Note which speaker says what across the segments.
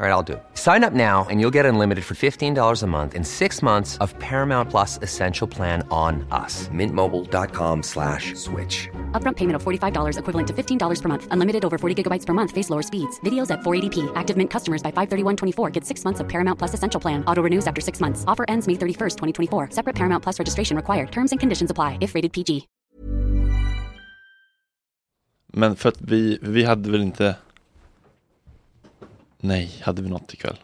Speaker 1: All right, I'll do it. Sign up now and you'll get unlimited for $15 a month in six months of Paramount Plus Essential Plan on us. Mintmobile.com slash switch.
Speaker 2: Upfront payment of $45 equivalent to $15 per month. Unlimited over 40 gigabytes per month. Face lower speeds. Videos at 480p. Active Mint customers by 531.24 get six months of Paramount Plus Essential Plan. Auto renews after six months. Offer ends May 31st, 2024. Separate Paramount Plus registration required. Terms and conditions apply if rated PG.
Speaker 3: Men för att vi, vi hade väl inte Nej, hade vi något ikväll?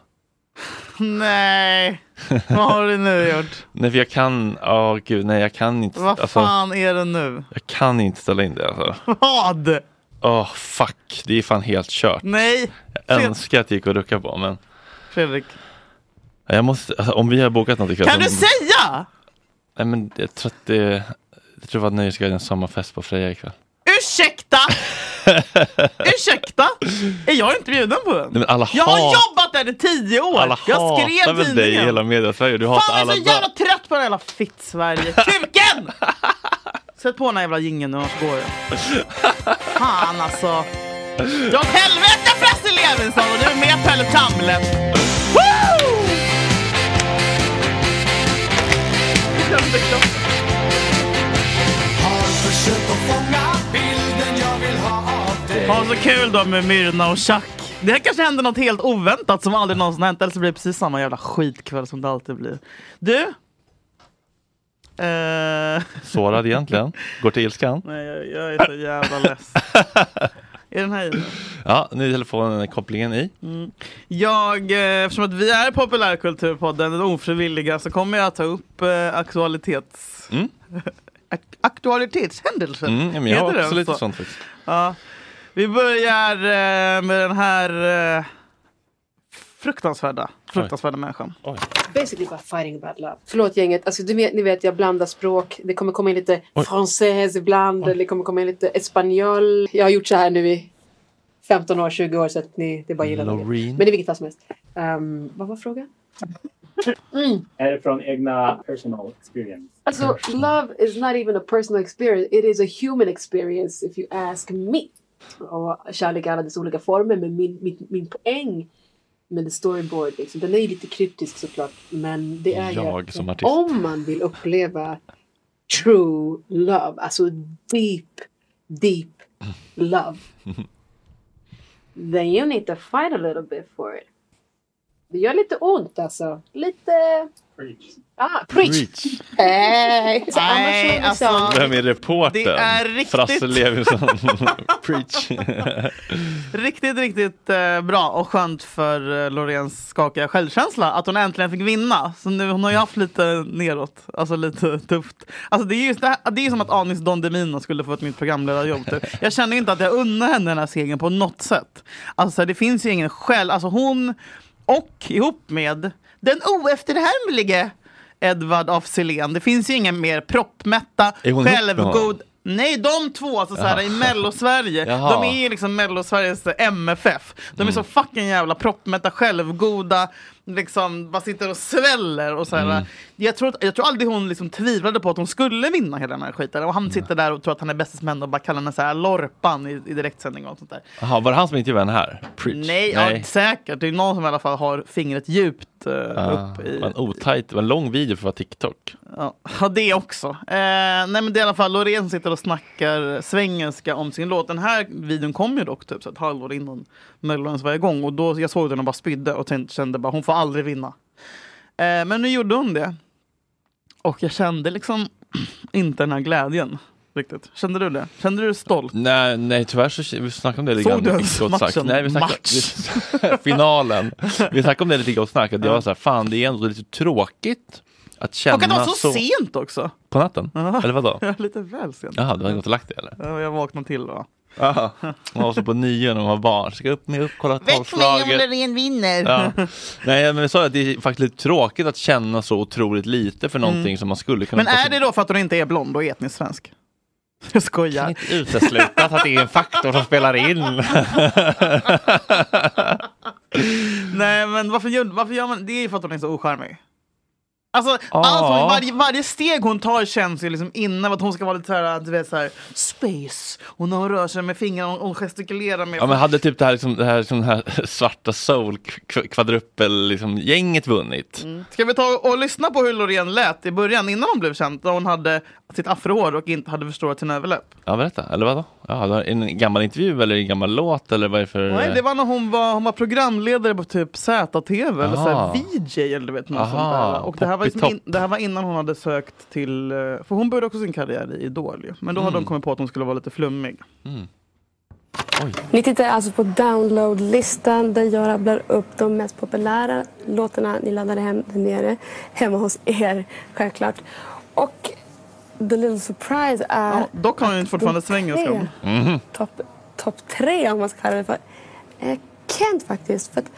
Speaker 4: Nej, vad har du nu gjort?
Speaker 3: Nej, för jag kan, ja gud, nej jag kan inte
Speaker 4: Vad
Speaker 3: alltså,
Speaker 4: fan är det nu?
Speaker 3: Jag kan inte ställa in det alltså.
Speaker 4: Vad?
Speaker 3: Åh fuck, det är fan helt kört.
Speaker 4: Nej,
Speaker 3: Jag
Speaker 4: Fred-
Speaker 3: önskar att det gick att rucka på men
Speaker 4: Fredrik.
Speaker 3: Ja, jag måste, alltså, om vi har bokat något ikväll
Speaker 4: Kan du
Speaker 3: så-
Speaker 4: säga?
Speaker 3: Nej men jag tror att det, jag tror att Nöjesguidens sommarfest på Freja ikväll.
Speaker 4: Ursäkta? Ursäkta? Är jag inte bjuden på den?
Speaker 3: Nej men alla
Speaker 4: Jag har
Speaker 3: hat-
Speaker 4: jobbat där i tio år!
Speaker 3: alla
Speaker 4: jag
Speaker 3: hatar
Speaker 4: skrev
Speaker 3: väl dig i
Speaker 4: tidningen.
Speaker 3: hela media-Sverige, du hatar
Speaker 4: Fan
Speaker 3: alla
Speaker 4: jag är så
Speaker 3: dagar.
Speaker 4: jävla trött på den här jävla fitt-Sverige. Kuken! Sätt på den här jävla jingeln nu annars går jag. Fan alltså. Ja åt helvete Frasse Levinson och du är med Pelle Tamlet. Woo! Jag glömde klockan. Ha så kul då med Myrna och Chuck. Det här kanske händer något helt oväntat som aldrig någonsin hänt. Eller så blir det precis samma jävla skitkväll som det alltid blir. Du? Eh,
Speaker 3: Sårad egentligen, går till ilskan.
Speaker 4: nej, jag, jag är så jävla less. Är den här i nu?
Speaker 3: Ja, nu är telefonen kopplingen i.
Speaker 4: Jag, eh, eftersom att vi är populärkulturpodden, den ofrivilliga, så kommer jag ta upp eh, aktualitets...
Speaker 3: Mm.
Speaker 4: Ak- aktualitetshändelser.
Speaker 3: Mm, men jag har
Speaker 4: Heter det
Speaker 3: också lite
Speaker 4: så?
Speaker 3: sånt faktiskt.
Speaker 4: Ja. Vi börjar eh, med den här eh, fruktansvärda, fruktansvärda människan.
Speaker 5: basically bara fighting about love. Förlåt gänget, alltså, du vet, ni vet jag blandar språk. Det kommer komma in lite
Speaker 3: Oj.
Speaker 5: francais ibland, eller det kommer komma in lite espanjol. Jag har gjort så här nu i 15 år, 20 år så att ni, det är bara att gilla det.
Speaker 3: Loreen.
Speaker 5: Men det är vilket fall som helst. Ehm, vad var frågan?
Speaker 6: Är det från egna personal experience?
Speaker 5: Alltså, love is not even a personal experience. It is a human experience if you ask me. Och kärlek i alla dess olika former. Men min, min, min poäng med the storyboard, liksom, den är ju lite kryptisk såklart. Men det är ju
Speaker 3: Jag som artist.
Speaker 5: om man vill uppleva true love, alltså deep, deep love. Then you need to fight a little bit for it. Det gör lite ont alltså. Lite...
Speaker 6: Preach.
Speaker 5: Ah, preach!
Speaker 3: Reach.
Speaker 5: Nej, så annars
Speaker 4: Nej,
Speaker 5: så liksom-
Speaker 4: alltså.
Speaker 3: Vem är reportern?
Speaker 4: Det är riktigt.
Speaker 3: Frasse Levinson. Preach.
Speaker 4: Riktigt, riktigt eh, bra och skönt för eh, Loreens skakiga självkänsla att hon äntligen fick vinna. Så nu, hon har ju haft lite neråt, alltså lite tufft. Alltså det är ju det här, det är ju som att Anis Don Demina skulle få ett nytt programledarjobb. Typ. Jag känner ju inte att jag unnar henne den här segern på något sätt. Alltså det finns ju ingen själ, alltså hon och ihop med den oefterhärmlige Edvard af Sillén. Det finns ju ingen mer proppmätta,
Speaker 3: Är hon ihop med honom?
Speaker 4: självgod Nej, de två alltså, såhär, i Mellosverige,
Speaker 3: Jaha.
Speaker 4: de är ju liksom Mellosveriges MFF. De är så fucking jävla proppmätta, självgoda, liksom bara sitter och sväller. Och såhär. Jag, tror, att- jag tror aldrig hon liksom tvivlade på att hon skulle vinna hela den här skiten. Och han sitter där och tror att han är bästes man och bara kallar henne såhär Lorpan i, i direktsändning och allt sånt där.
Speaker 3: Jaha, var det han som intervjuade henne här? Preach.
Speaker 4: Nej, Ja, säkert. Det är någon som i alla fall har fingret djupt eh, upp
Speaker 3: Det
Speaker 4: i...
Speaker 3: var Ah, en otajt, det var en lång video för att vara TikTok.
Speaker 4: Ja, ja, det också. Eh, nej men det är i alla fall Loreen som sitter och snackar svengelska om sin låt. Den här videon kom ju dock typ så ett halvår innan Melodins var igång. Och då, jag såg den och bara spydde och tänkte, kände bara hon får aldrig vinna. Eh, men nu gjorde hon det. Och jag kände liksom inte den här glädjen riktigt. Kände du det? Kände du dig stolt?
Speaker 3: Nej, nej tyvärr så vi snackade om det lite
Speaker 4: Såg du
Speaker 3: grann. i
Speaker 4: ens
Speaker 3: Gott Snack.
Speaker 4: matchen?
Speaker 3: Nej, vi snackade, vi, finalen. Vi snackade om det lite i Gott Snack. att Det var så här, fan det är ändå lite tråkigt. Att känna
Speaker 4: Och att det var så,
Speaker 3: så...
Speaker 4: sent också.
Speaker 3: På natten? Eller vadå?
Speaker 4: Jag var lite väl sent.
Speaker 3: Jaha, du hade gått och lagt dig eller?
Speaker 4: Ja, Jag vaknade till då.
Speaker 3: Jaha. Man var så på nio när man var barn. Ska upp med upp, kolla tolvslaget.
Speaker 4: Loreen vinner!
Speaker 3: Ja. Nej men jag sa att det är faktiskt lite tråkigt att känna så otroligt lite för någonting som man skulle kunna
Speaker 4: Mm. Men är det då för att hon inte är blond och etnisk svensk? Jag
Speaker 3: Jag kan
Speaker 4: skojar.
Speaker 3: inte utesluta att det är en faktor som spelar in.
Speaker 4: Nej men varför gör, varför gör man det? är ju för att hon är så ocharmig. Alltså,
Speaker 3: Ja.
Speaker 4: allt hon, varje, varje steg hon tar känns ju liksom innan att hon ska vara lite såhär, du vet såhär, space. Och när hon rör sig med fingrarna, hon, hon gestikulerar med.
Speaker 3: Ja men hade typ det här, liksom, det här, liksom, det här svarta soul kv- kvadrupel liksom, gänget vunnit?
Speaker 4: Ska vi ta och lyssna på hur Loreen lät i början innan hon blev känd? Då hon hade sitt afrohår och inte hade förstorat sin överläpp.
Speaker 3: Ja berätta, eller vadå? Ja, det var en gammal intervju eller en gammal låt eller vad är det för?
Speaker 4: Nej, det var när hon var, hon var programledare på typ ZTV eller så
Speaker 3: Aha.
Speaker 4: här VJ eller du vet något
Speaker 3: Aha,
Speaker 4: sånt där. Och det här, var liksom in,
Speaker 3: poppitopp.
Speaker 4: det här var innan hon hade sökt till, eh, för hon började också sin karriär i Idol ju. Men då hade
Speaker 3: Mm.
Speaker 4: hon kommit på att hon skulle vara lite flummig.
Speaker 7: Vi tittar alltså på downloadlistan där jag rabblar upp de mest populära låtarna ni laddade hem där nere. Hemma hos er, självklart. Och the little surprise är...
Speaker 4: Ja, dock har hon ju fortfarande
Speaker 7: topp tre.
Speaker 4: svängelskan.
Speaker 7: Topp top tre, om man ska kalla det för. Eh, Kent, faktiskt. För att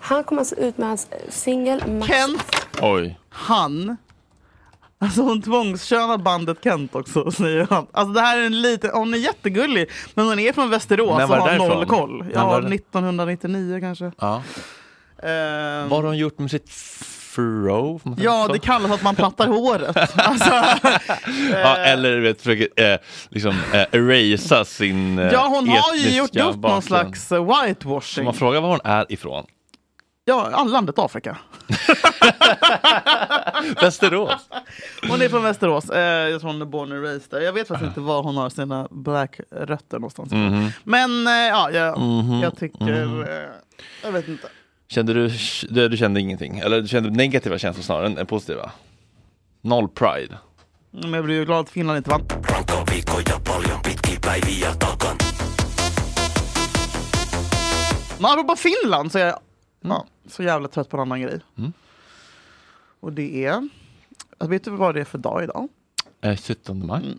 Speaker 7: han kom alltså ut med hans singel Max
Speaker 4: Kent,
Speaker 3: Oj.
Speaker 4: han. Alltså hon tvångskönar bandet Kent också säger han. Alltså det här är en liten, hon är jättegullig. Men hon är från Västerås
Speaker 3: När
Speaker 4: och
Speaker 3: var det
Speaker 4: har noll
Speaker 3: därifrån?
Speaker 4: koll.
Speaker 3: När
Speaker 4: Ja,
Speaker 3: var det-
Speaker 4: 1999 kanske.
Speaker 3: Ja.
Speaker 4: Ehm,
Speaker 3: Vad har hon gjort med sitt fro? får man säga
Speaker 4: ja,
Speaker 3: så?
Speaker 4: det kallas att man plattar håret. Alltså,
Speaker 3: ja, eller du vet, försöker eh, liksom, eh, erasa sin eh,
Speaker 4: Ja, hon har ju
Speaker 3: etniska
Speaker 4: gjort, gjort någon
Speaker 3: bakgrund.
Speaker 4: slags eh,
Speaker 3: Om
Speaker 4: whitewashing.
Speaker 3: man frågar var hon är ifrån,
Speaker 4: Ja, landet Afrika.
Speaker 3: Västerås.
Speaker 4: Hon är från Västerås. Eh, jag tror hon är born and raised där. Jag vet faktiskt inte var hon har sina black rötter någonstans.
Speaker 3: Mhm.
Speaker 4: Men eh, ja, jag, jag tycker... Eh, jag vet inte.
Speaker 3: Kände du, du, du kände ingenting? Eller du kände negativa känslor snarare än än positiva? Noll pride.
Speaker 4: Men jag blir ju glad att Finland inte vann. Men apropå Finland så är jag
Speaker 3: Mm.
Speaker 4: ja, så jävla trött på en annan grej. Och det är... Jag vet du vad det är för dag idag?
Speaker 3: Eh, 17 maj.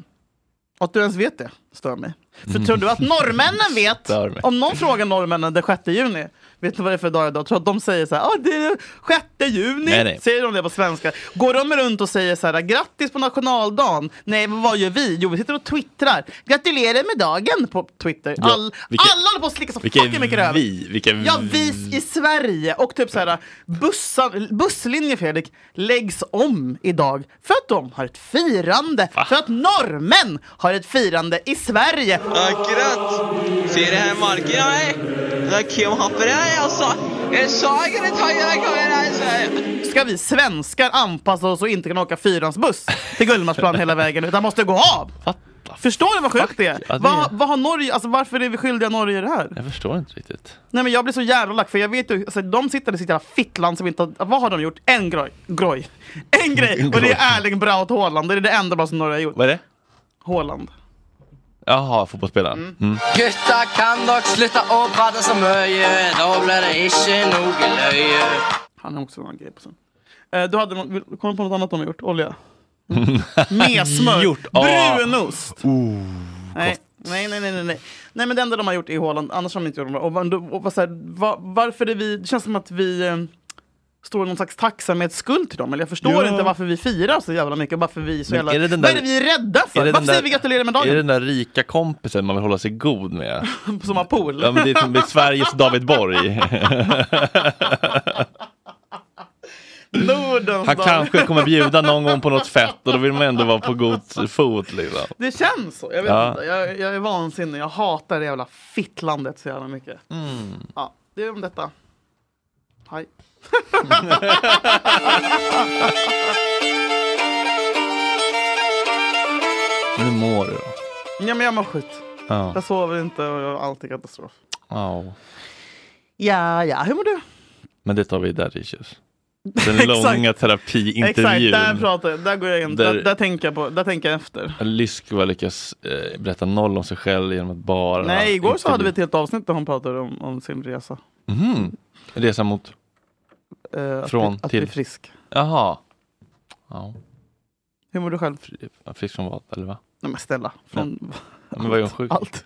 Speaker 4: Att du ens vet det stör mig. För tror du att norrmännen vet?
Speaker 3: Mm. Stör mig.
Speaker 4: Om någon frågar norrmännen den 6 juni, vet du vad det är för dag idag? Tror du att de säger så här, ah, det är 6 juni?
Speaker 3: Nej, nej.
Speaker 4: Säger de det på svenska? Går de runt och säger så här, grattis på nationaldagen? Nej, men vad gör vi? Jo, vi sitter och twittrar. Gratulerar med dagen på Twitter.
Speaker 3: Ja,
Speaker 4: All,
Speaker 3: vilka-
Speaker 4: alla håller på att slicka så
Speaker 3: Vilka
Speaker 4: fucking mycket
Speaker 3: är
Speaker 4: röv.
Speaker 3: vi? Vilka
Speaker 4: Ja, vi i Sverige och typ så här bussar, busslinjer Fredrik läggs om idag för att de har ett firande. För att norrmän har ett firande i Sverige.
Speaker 8: Akkurat. Ser det här marken? Nej. Det är Kim Hopper här. Jag sa, alltså. jag sa inte att jag kommer här. sa jag.
Speaker 4: Ska vi svenskar anpassa oss och inte kan åka fyrans buss till Gullmarsplan hela vägen utan måste gå av?
Speaker 3: What the f-
Speaker 4: Förstår du vad sjukt det är?
Speaker 3: Ja, det-
Speaker 4: Vad, vad har Norge, alltså varför är vi skyldiga Norge det här?
Speaker 3: Jag förstår inte riktigt.
Speaker 4: Nej men jag blir så jävla lack för jag vet ju, alltså, de sitter i sitt jävla fittland som inte har- vad har de gjort? En groj, groj. En grej! Och det är Erling Braut Haaland, det är det enda bra som Norge har gjort.
Speaker 3: Vad är det?
Speaker 4: Haaland.
Speaker 3: Jaha, fotbollsspelaren. Mm.
Speaker 9: Gutta kan dere slutte å prate så mye, da blir det ikke noe løye.
Speaker 4: Han har också en grej på sen. Eh, du hade någon, kom du på något annat de har gjort? Olja? Med smör?
Speaker 3: Gjort, Oh, ja.
Speaker 4: Brunost? nej. nej, nej, nej, nej, nej. Nej men det enda de har gjort är Haaland, annars har de inte gjort något. Och, vad- och, vad så här, va- varför är vi, det känns som att vi eh, står i någon slags tacksamhetsskuld till dem. Eller jag förstår
Speaker 3: Ja.
Speaker 4: inte varför vi firar så jävla mycket. Varför vi är så
Speaker 3: Men
Speaker 4: jävla...
Speaker 3: är det den
Speaker 4: vad är
Speaker 3: där-
Speaker 4: det vi är rädda för?
Speaker 3: är det den
Speaker 4: varför
Speaker 3: där-
Speaker 4: säger vi gratulerar med
Speaker 3: Är det den
Speaker 4: dagen?
Speaker 3: där rika kompisen man vill hålla sig god med?
Speaker 4: Som har pool?
Speaker 3: Ja, men det är som det är Sveriges David Borg.
Speaker 4: Nordens
Speaker 3: Han
Speaker 4: dag.
Speaker 3: kanske kommer bjuda någon gång på något fett och då vill man ändå vara på god fot. Liksom.
Speaker 4: Det känns så. Jag, vet
Speaker 3: Ja.
Speaker 4: inte. Jag, jag är vansinnig. Jag hatar det jävla fittlandet så jävla mycket.
Speaker 3: Mm.
Speaker 4: Ja, det är om detta. Hej.
Speaker 3: Men Hur mår du då?
Speaker 4: Ja, men jag mår skit.
Speaker 3: Ja.
Speaker 4: Jag sover inte och jag har alltid katastrof.
Speaker 3: Ja.
Speaker 4: Ja, ja. Hur mår du?
Speaker 3: Men det tar vi där Richard. Den långa terapiintervjun.
Speaker 4: Exakt, där pratar jag. Där går jag in. Där,
Speaker 3: Där-
Speaker 4: där, tänker, jag på, där tänker jag efter.
Speaker 3: Lyskova lyckas eh, berätta noll om sig själv genom att bara...
Speaker 4: Nej, igår så hade vi ett helt avsnitt där hon pratade om, om sin resa.
Speaker 3: Mhm. Resa mot...
Speaker 4: Eh, att
Speaker 3: Från
Speaker 4: bli, att
Speaker 3: till.
Speaker 4: bli frisk.
Speaker 3: Jaha. Ja.
Speaker 4: Hur mår du själv?
Speaker 3: Fri- Frisk från vad? Eller va?
Speaker 4: Nej men snälla. Från...
Speaker 3: Ja, Men var jag sjuk?
Speaker 4: Allt.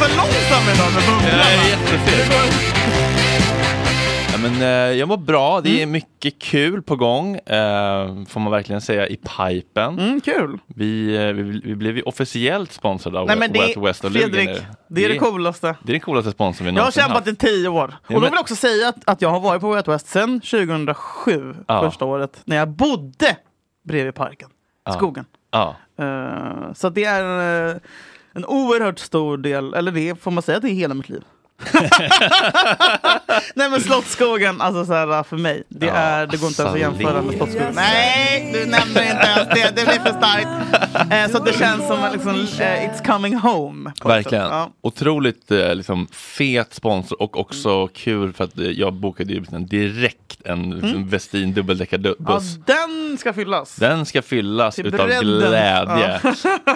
Speaker 4: För långsam idag med bubblorna.
Speaker 3: Ja, jättefel. Ja, men, eh, jag mår bra, det är
Speaker 4: Mm.
Speaker 3: mycket kul på gång, eh, får man verkligen säga, i pipen.
Speaker 4: Mm. kul.
Speaker 3: Vi, eh, vi, vi blev ju officiellt sponsrade av
Speaker 4: Nej, men
Speaker 3: Wet
Speaker 4: det,
Speaker 3: West och Luger
Speaker 4: Fredrik,
Speaker 3: nu.
Speaker 4: det är det coolaste.
Speaker 3: Det är den coolaste sponsorn vi
Speaker 4: Jag har
Speaker 3: någonsin
Speaker 4: kämpat i tio år.
Speaker 3: Ja,
Speaker 4: och då
Speaker 3: men-
Speaker 4: vill jag också säga att, att jag har varit på Way Out West sedan 2007,
Speaker 3: Ja.
Speaker 4: första året, när jag bodde bredvid parken,
Speaker 3: Ja.
Speaker 4: skogen.
Speaker 3: Ja.
Speaker 4: Eh, så att det är eh, en oerhört stor del, eller det får man säga att det är hela mitt liv. Nej men Slottsskogen, alltså så här, för mig, det,
Speaker 3: Ja,
Speaker 4: är, det går inte ens att
Speaker 3: alltså,
Speaker 4: jämföra med
Speaker 3: Lilja.
Speaker 4: Slottsskogen. Nej, du nämner inte ens det, det blir för starkt. Eh, så att det känns som att liksom, eh, it's coming home. på ett
Speaker 3: Verkligen.
Speaker 4: sätt. Ja.
Speaker 3: Otroligt eh, liksom, fet sponsor och också
Speaker 4: Mm.
Speaker 3: kul för att eh, jag bokade ju en- direkt en liksom, Vestin
Speaker 4: Ja,
Speaker 3: dubbeldäckarbuss.
Speaker 4: den ska fyllas.
Speaker 3: Den ska fyllas
Speaker 4: Till
Speaker 3: utav
Speaker 4: bredden.
Speaker 3: glädje.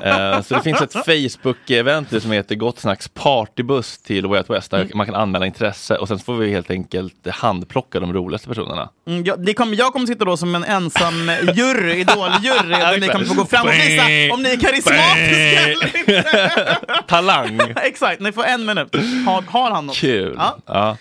Speaker 3: Eh, så det finns ett Facebook-event som heter Gott Snacks partybuss till Way Out West
Speaker 4: Mm.
Speaker 3: där man kan anmäla intresse och sen får vi helt enkelt handplocka de roligaste personerna.
Speaker 4: Mm, jag, det kommer, jag kommer sitta då som en ensam jury, idoljury, där ni kommer få gå fram och visa om ni är karismatiska eller inte.
Speaker 3: Talang!
Speaker 4: Exakt, ni får en minut. Har, har han något?
Speaker 3: Kul!
Speaker 4: Ja.
Speaker 3: Ja.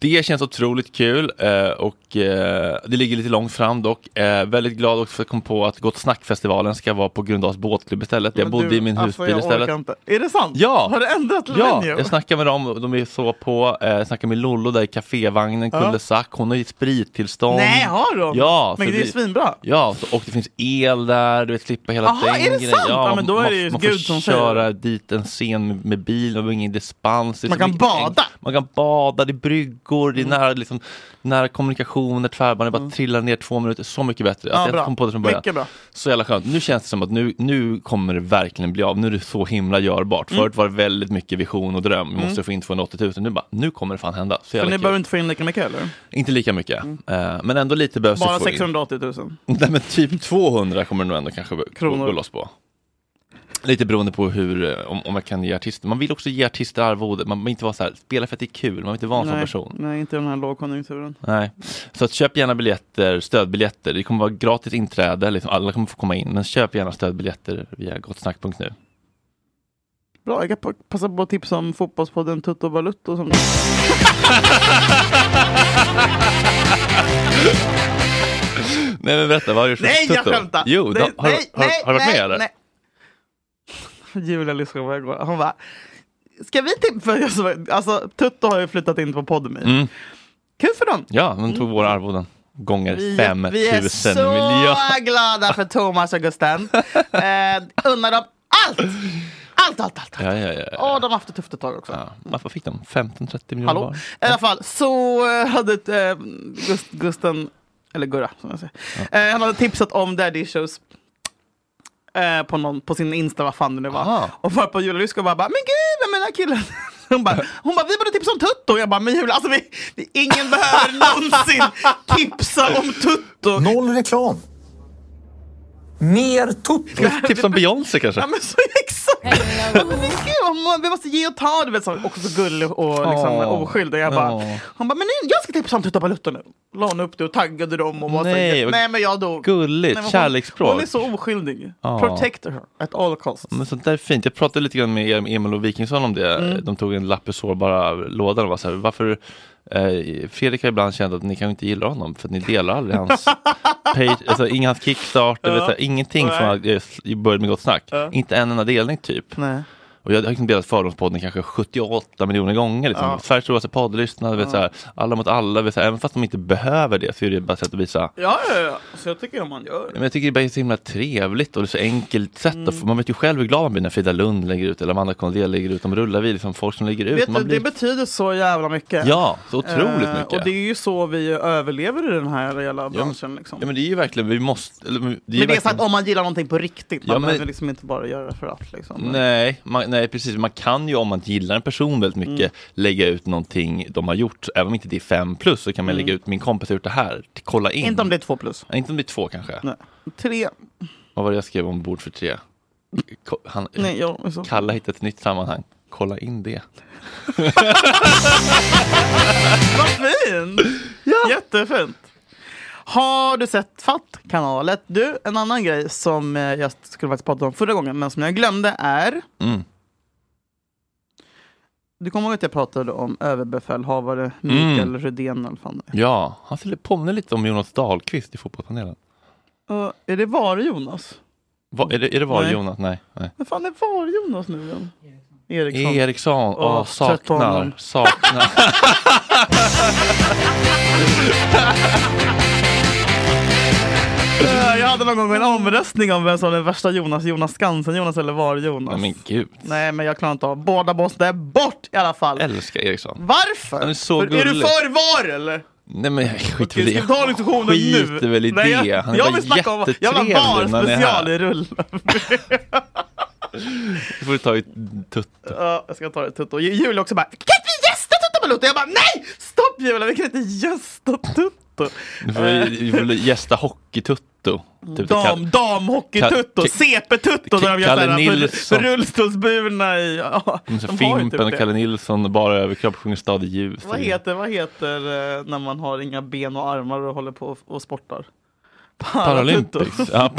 Speaker 3: Det känns otroligt kul eh, och eh, det ligger lite långt fram dock. Eh, Väldigt glad också för att jag kom på att Gott Snack-festivalen ska vara på Grundahls båtklubb istället. Jag
Speaker 4: Men
Speaker 3: bodde
Speaker 4: du,
Speaker 3: i min
Speaker 4: alltså,
Speaker 3: husbil
Speaker 4: jag orkar
Speaker 3: istället.
Speaker 4: inte. Är det sant?
Speaker 3: Ja.
Speaker 4: Har du ändrat
Speaker 3: Ja,
Speaker 4: venue?
Speaker 3: jag snackade med dem, de är så på. Eh, Jag snackade med Lollo där i kafévagnen,
Speaker 4: Ja.
Speaker 3: Kullesack. Hon har ju sprittillstånd.
Speaker 4: Nej, har de?
Speaker 3: Ja,
Speaker 4: Men
Speaker 3: så
Speaker 4: det är ju
Speaker 3: vi-
Speaker 4: svinbra.
Speaker 3: Ja, så, och det finns el där, du vet klippa hela
Speaker 4: Aha,
Speaker 3: den
Speaker 4: är det sant?
Speaker 3: Ja,
Speaker 4: Ja, men då är
Speaker 3: man,
Speaker 4: det ju
Speaker 3: man
Speaker 4: Gud
Speaker 3: får
Speaker 4: som säger
Speaker 3: köra dit en scen med, med bil, man har ingen dispens. Det är
Speaker 4: Man
Speaker 3: så
Speaker 4: kan
Speaker 3: mycket
Speaker 4: bada. Mm.
Speaker 3: eng- Man kan bada, det är bryggor, det är nära, liksom, nära kommunikationer, tvärbanor, bara trillar ner två minuter. Så mycket bättre.
Speaker 4: Ja,
Speaker 3: att
Speaker 4: bra.
Speaker 3: jag kom på det från början.
Speaker 4: Mycket bra.
Speaker 3: Så jävla skönt. Nu känns det som att nu, nu kommer det verkligen bli av. Nu är det så himla görbart. Förut var det väldigt mycket vision och dröm. Vi måste
Speaker 4: Mm.
Speaker 3: få in 280 000. Nu bara, nu kommer det fan hända. Så
Speaker 4: För
Speaker 3: jävla
Speaker 4: ni
Speaker 3: kul.
Speaker 4: behöver inte få in lika mycket eller?
Speaker 3: Inte lika mycket, eh, men ändå lite behövs det
Speaker 4: Bara
Speaker 3: få in.
Speaker 4: 680 000.
Speaker 3: Nej men typ 200 kommer det nog ändå kanske gå-
Speaker 4: Kronor.
Speaker 3: gå loss på. Lite beroende på hur, eh, om, om jag kan ge artister, man vill också ge artister arvode, man vill inte vara så här, spela för att det är kul, man vill inte vara en sån
Speaker 4: nej,
Speaker 3: person.
Speaker 4: nej, inte i den här lågkonjunkturen.
Speaker 3: Nej. Så att köp gärna biljetter, stödbiljetter, det kommer vara gratis inträde, liksom. alla kommer få komma in, men köp gärna stödbiljetter via gottsnack.nu.
Speaker 4: Bra, jag kan pa- passa på att tipsa om fotbollspodden Tutto Balutto. Som...
Speaker 3: Nej men berätta, vad har du gjort för
Speaker 4: Nej, jag
Speaker 3: tutto?
Speaker 4: skämtar!
Speaker 3: Typ Jo,
Speaker 4: nej,
Speaker 3: då, har,
Speaker 4: nej,
Speaker 3: har, har, har du varit
Speaker 4: nej,
Speaker 3: med eller?
Speaker 4: nej. Julia lyssnar på mig igår. Hon bara, ska vi till... För jag, så- alltså, Tutto har ju flyttat in på Podmi.
Speaker 3: Mm.
Speaker 4: Kul för dem!
Speaker 3: Ja, de tog våra arvoden gånger
Speaker 4: Vi,
Speaker 3: 5000
Speaker 4: vi är så
Speaker 3: miljoner.
Speaker 4: glada för Thomas och Gusten. Eh, unnar dem allt! Allt, allt, allt. allt.
Speaker 3: Ja, ja, ja.
Speaker 4: Åh, de har haft det tufft ett tag också.
Speaker 3: Ja, Vad fick de? 15-30 miljoner
Speaker 4: Hallå?
Speaker 3: var?
Speaker 4: I alla fall så eh, hade eh, Gust, Gusten, eller Gurra som jag säger, eh, han hade tipsat om daddy issues. Eh, på, någon, på sin Insta, vad fan det nu var.
Speaker 3: Aha.
Speaker 4: Och var på Julia Lyska och bara, men gud, vem är den här killen? Hon bara, hon bara, vi borde tipsa om Tutto. Och jag bara, men Julia, alltså vi, vi, ingen behöver någonsin tipsa om Tutto.
Speaker 10: Noll reklam. Mer tutto.
Speaker 3: Tips om Typ Beyoncé
Speaker 4: Ja
Speaker 3: kanske?
Speaker 4: men så exakt! Men gud, om vi måste ge och ta, du vet, så, också så gullig och liksom,
Speaker 3: Åh.
Speaker 4: oskyldig. Jag bara,
Speaker 3: Åh.
Speaker 4: Hon bara, men nej, jag ska tipsa om Tutta Balutta nu. La hon upp det och taggade dem och var
Speaker 3: Nej,
Speaker 4: så,
Speaker 3: vad
Speaker 4: nej men jag dog.
Speaker 3: Gulligt,
Speaker 4: Nej, men
Speaker 3: kärleksspråk.
Speaker 4: Hon är så oskyldig.
Speaker 3: Ja.
Speaker 4: Protect her at all costs.
Speaker 3: Men sånt där är fint. Jag pratade lite grann med Emil och Wikingsson om det.
Speaker 4: Mm.
Speaker 3: De tog en lapp ur sårbara lådan och var så här, varför eh, Fredrik har ibland känt att ni kan ju inte gilla honom för att ni delar aldrig hans page, alltså ingen hans kickstarter,
Speaker 4: Ja.
Speaker 3: vet, så här, ingenting
Speaker 4: Nej.
Speaker 3: från att jag s- började med Gott Snack.
Speaker 4: Ja.
Speaker 3: Inte en enda delning typ.
Speaker 4: Nej.
Speaker 3: Och jag har liksom delat Fördomspodden kanske 78 miljoner gånger. Liksom.
Speaker 4: Ja.
Speaker 3: Sveriges roligaste poddlyssnare, vet, så här, alla mot alla. Vet, så här, även fast de inte behöver det så är det bara ett sätt att visa
Speaker 4: Ja, ja, ja. Så jag tycker man gör.
Speaker 3: Ja, Men jag tycker det bara är så himla trevligt och det är så enkelt sätt. att
Speaker 4: Mm.
Speaker 3: få- Man vet ju själv hur glad man blir när Frida Lund lägger ut eller Amanda Kondé lägger ut. De rullar vi liksom folk som lägger ut.
Speaker 4: Vet
Speaker 3: man
Speaker 4: du,
Speaker 3: blir...
Speaker 4: det betyder så jävla mycket.
Speaker 3: Ja, så otroligt
Speaker 4: Eh,
Speaker 3: mycket.
Speaker 4: Och det är ju så vi överlever i den här jävla branschen. Liksom.
Speaker 3: Ja men det är ju verkligen, vi måste... Eller, det är ju
Speaker 4: men det är så
Speaker 3: verkligen...
Speaker 4: att om man gillar någonting på riktigt, man
Speaker 3: Ja, men-
Speaker 4: behöver liksom inte bara göra det för att. Liksom.
Speaker 3: Nej, man, nej, precis. Man kan ju om man gillar en person väldigt mycket
Speaker 4: Mm.
Speaker 3: lägga ut någonting de har gjort. Även om inte det är fem plus så kan man lägga ut min kompis har gjort det här. T- Kolla in.
Speaker 4: Mm. Inte om det är två plus.
Speaker 3: Ja, inte om det är två kanske.
Speaker 4: Nej. Tre.
Speaker 3: Vad var det jag skrev om bord för tre? Ko- Han,
Speaker 4: Nej, jag är så.
Speaker 3: Kalle hittade ett nytt sammanhang. Kolla in det.
Speaker 4: Vad fint! Jättefint. Har du sett Fatt-kanalet? Du, en annan grej som eh, jag skulle faktiskt prata om förra gången, men som jag glömde är...
Speaker 3: Mm.
Speaker 4: Du kommer ihåg att jag pratade om överbefälhavare Mikael
Speaker 3: Mm.
Speaker 4: Rydén? Eller fan.
Speaker 3: Ja, han skulle påminna lite om Jonas Dahlqvist i fotbollspanelen.
Speaker 4: Uh, är det var Jonas?
Speaker 3: Va, är det, är det var
Speaker 4: Nej.
Speaker 3: Jonas? Nej. nej.
Speaker 4: Vad fan är var Jonas nu igen? Eriksson.
Speaker 3: Eriksson. Åh,
Speaker 4: Åh, trött på honom.
Speaker 3: saknar. Saknar.
Speaker 4: Eh, Jag hade någon gång en omröstning om vem som var den värsta Jonas. Jonas Skansen Jonas eller var Jonas?
Speaker 3: Nej men gud.
Speaker 4: Nej men jag klarar inte av. Båda boss, det är bort i alla fall.
Speaker 3: Älskar Eriksson.
Speaker 4: Varför?
Speaker 3: Han är så
Speaker 4: För- är du
Speaker 3: gullig.
Speaker 4: för var eller?
Speaker 3: Nej men jag skiter
Speaker 4: Okej,
Speaker 3: väl i
Speaker 4: ska vi ta diskussionen nu?
Speaker 3: skiter väl i
Speaker 4: Nej,
Speaker 3: det.
Speaker 4: jag-
Speaker 3: Han är
Speaker 4: jag
Speaker 3: bara
Speaker 4: vill snacka om- jag vill ha
Speaker 3: jättetrevlig
Speaker 4: VAR
Speaker 3: när han är
Speaker 4: special
Speaker 3: här.
Speaker 4: i rull.
Speaker 3: Det får du ta i tutt.
Speaker 4: Ja, jag ska ta det Tutto. Ju- Julia också bara, kan inte vi gästa Tutto Balutto? Jag bara, nej! Stopp Julia, vi kan inte gästa Tutto.
Speaker 3: Du får vi- vi får gästa Hockeytutto. Typ till
Speaker 4: Dam,
Speaker 3: Kalle-
Speaker 4: damhockey-tutto,
Speaker 3: Ka- Ka-
Speaker 4: CP-tutto där de gör
Speaker 3: Kalle
Speaker 4: såhär för,
Speaker 3: Nilsson.
Speaker 4: för rullstolsburna i... Ja,
Speaker 3: Mm, så
Speaker 4: de har ju typ
Speaker 3: Fimpen,
Speaker 4: det.
Speaker 3: Kalle Nilsson, bara överkropp, sjunger Stadig ljus.
Speaker 4: Vad heter, vad heter eh, när man har inga ben och armar och håller på och, och sportar? Paratutto.
Speaker 3: Paralympics. Ja,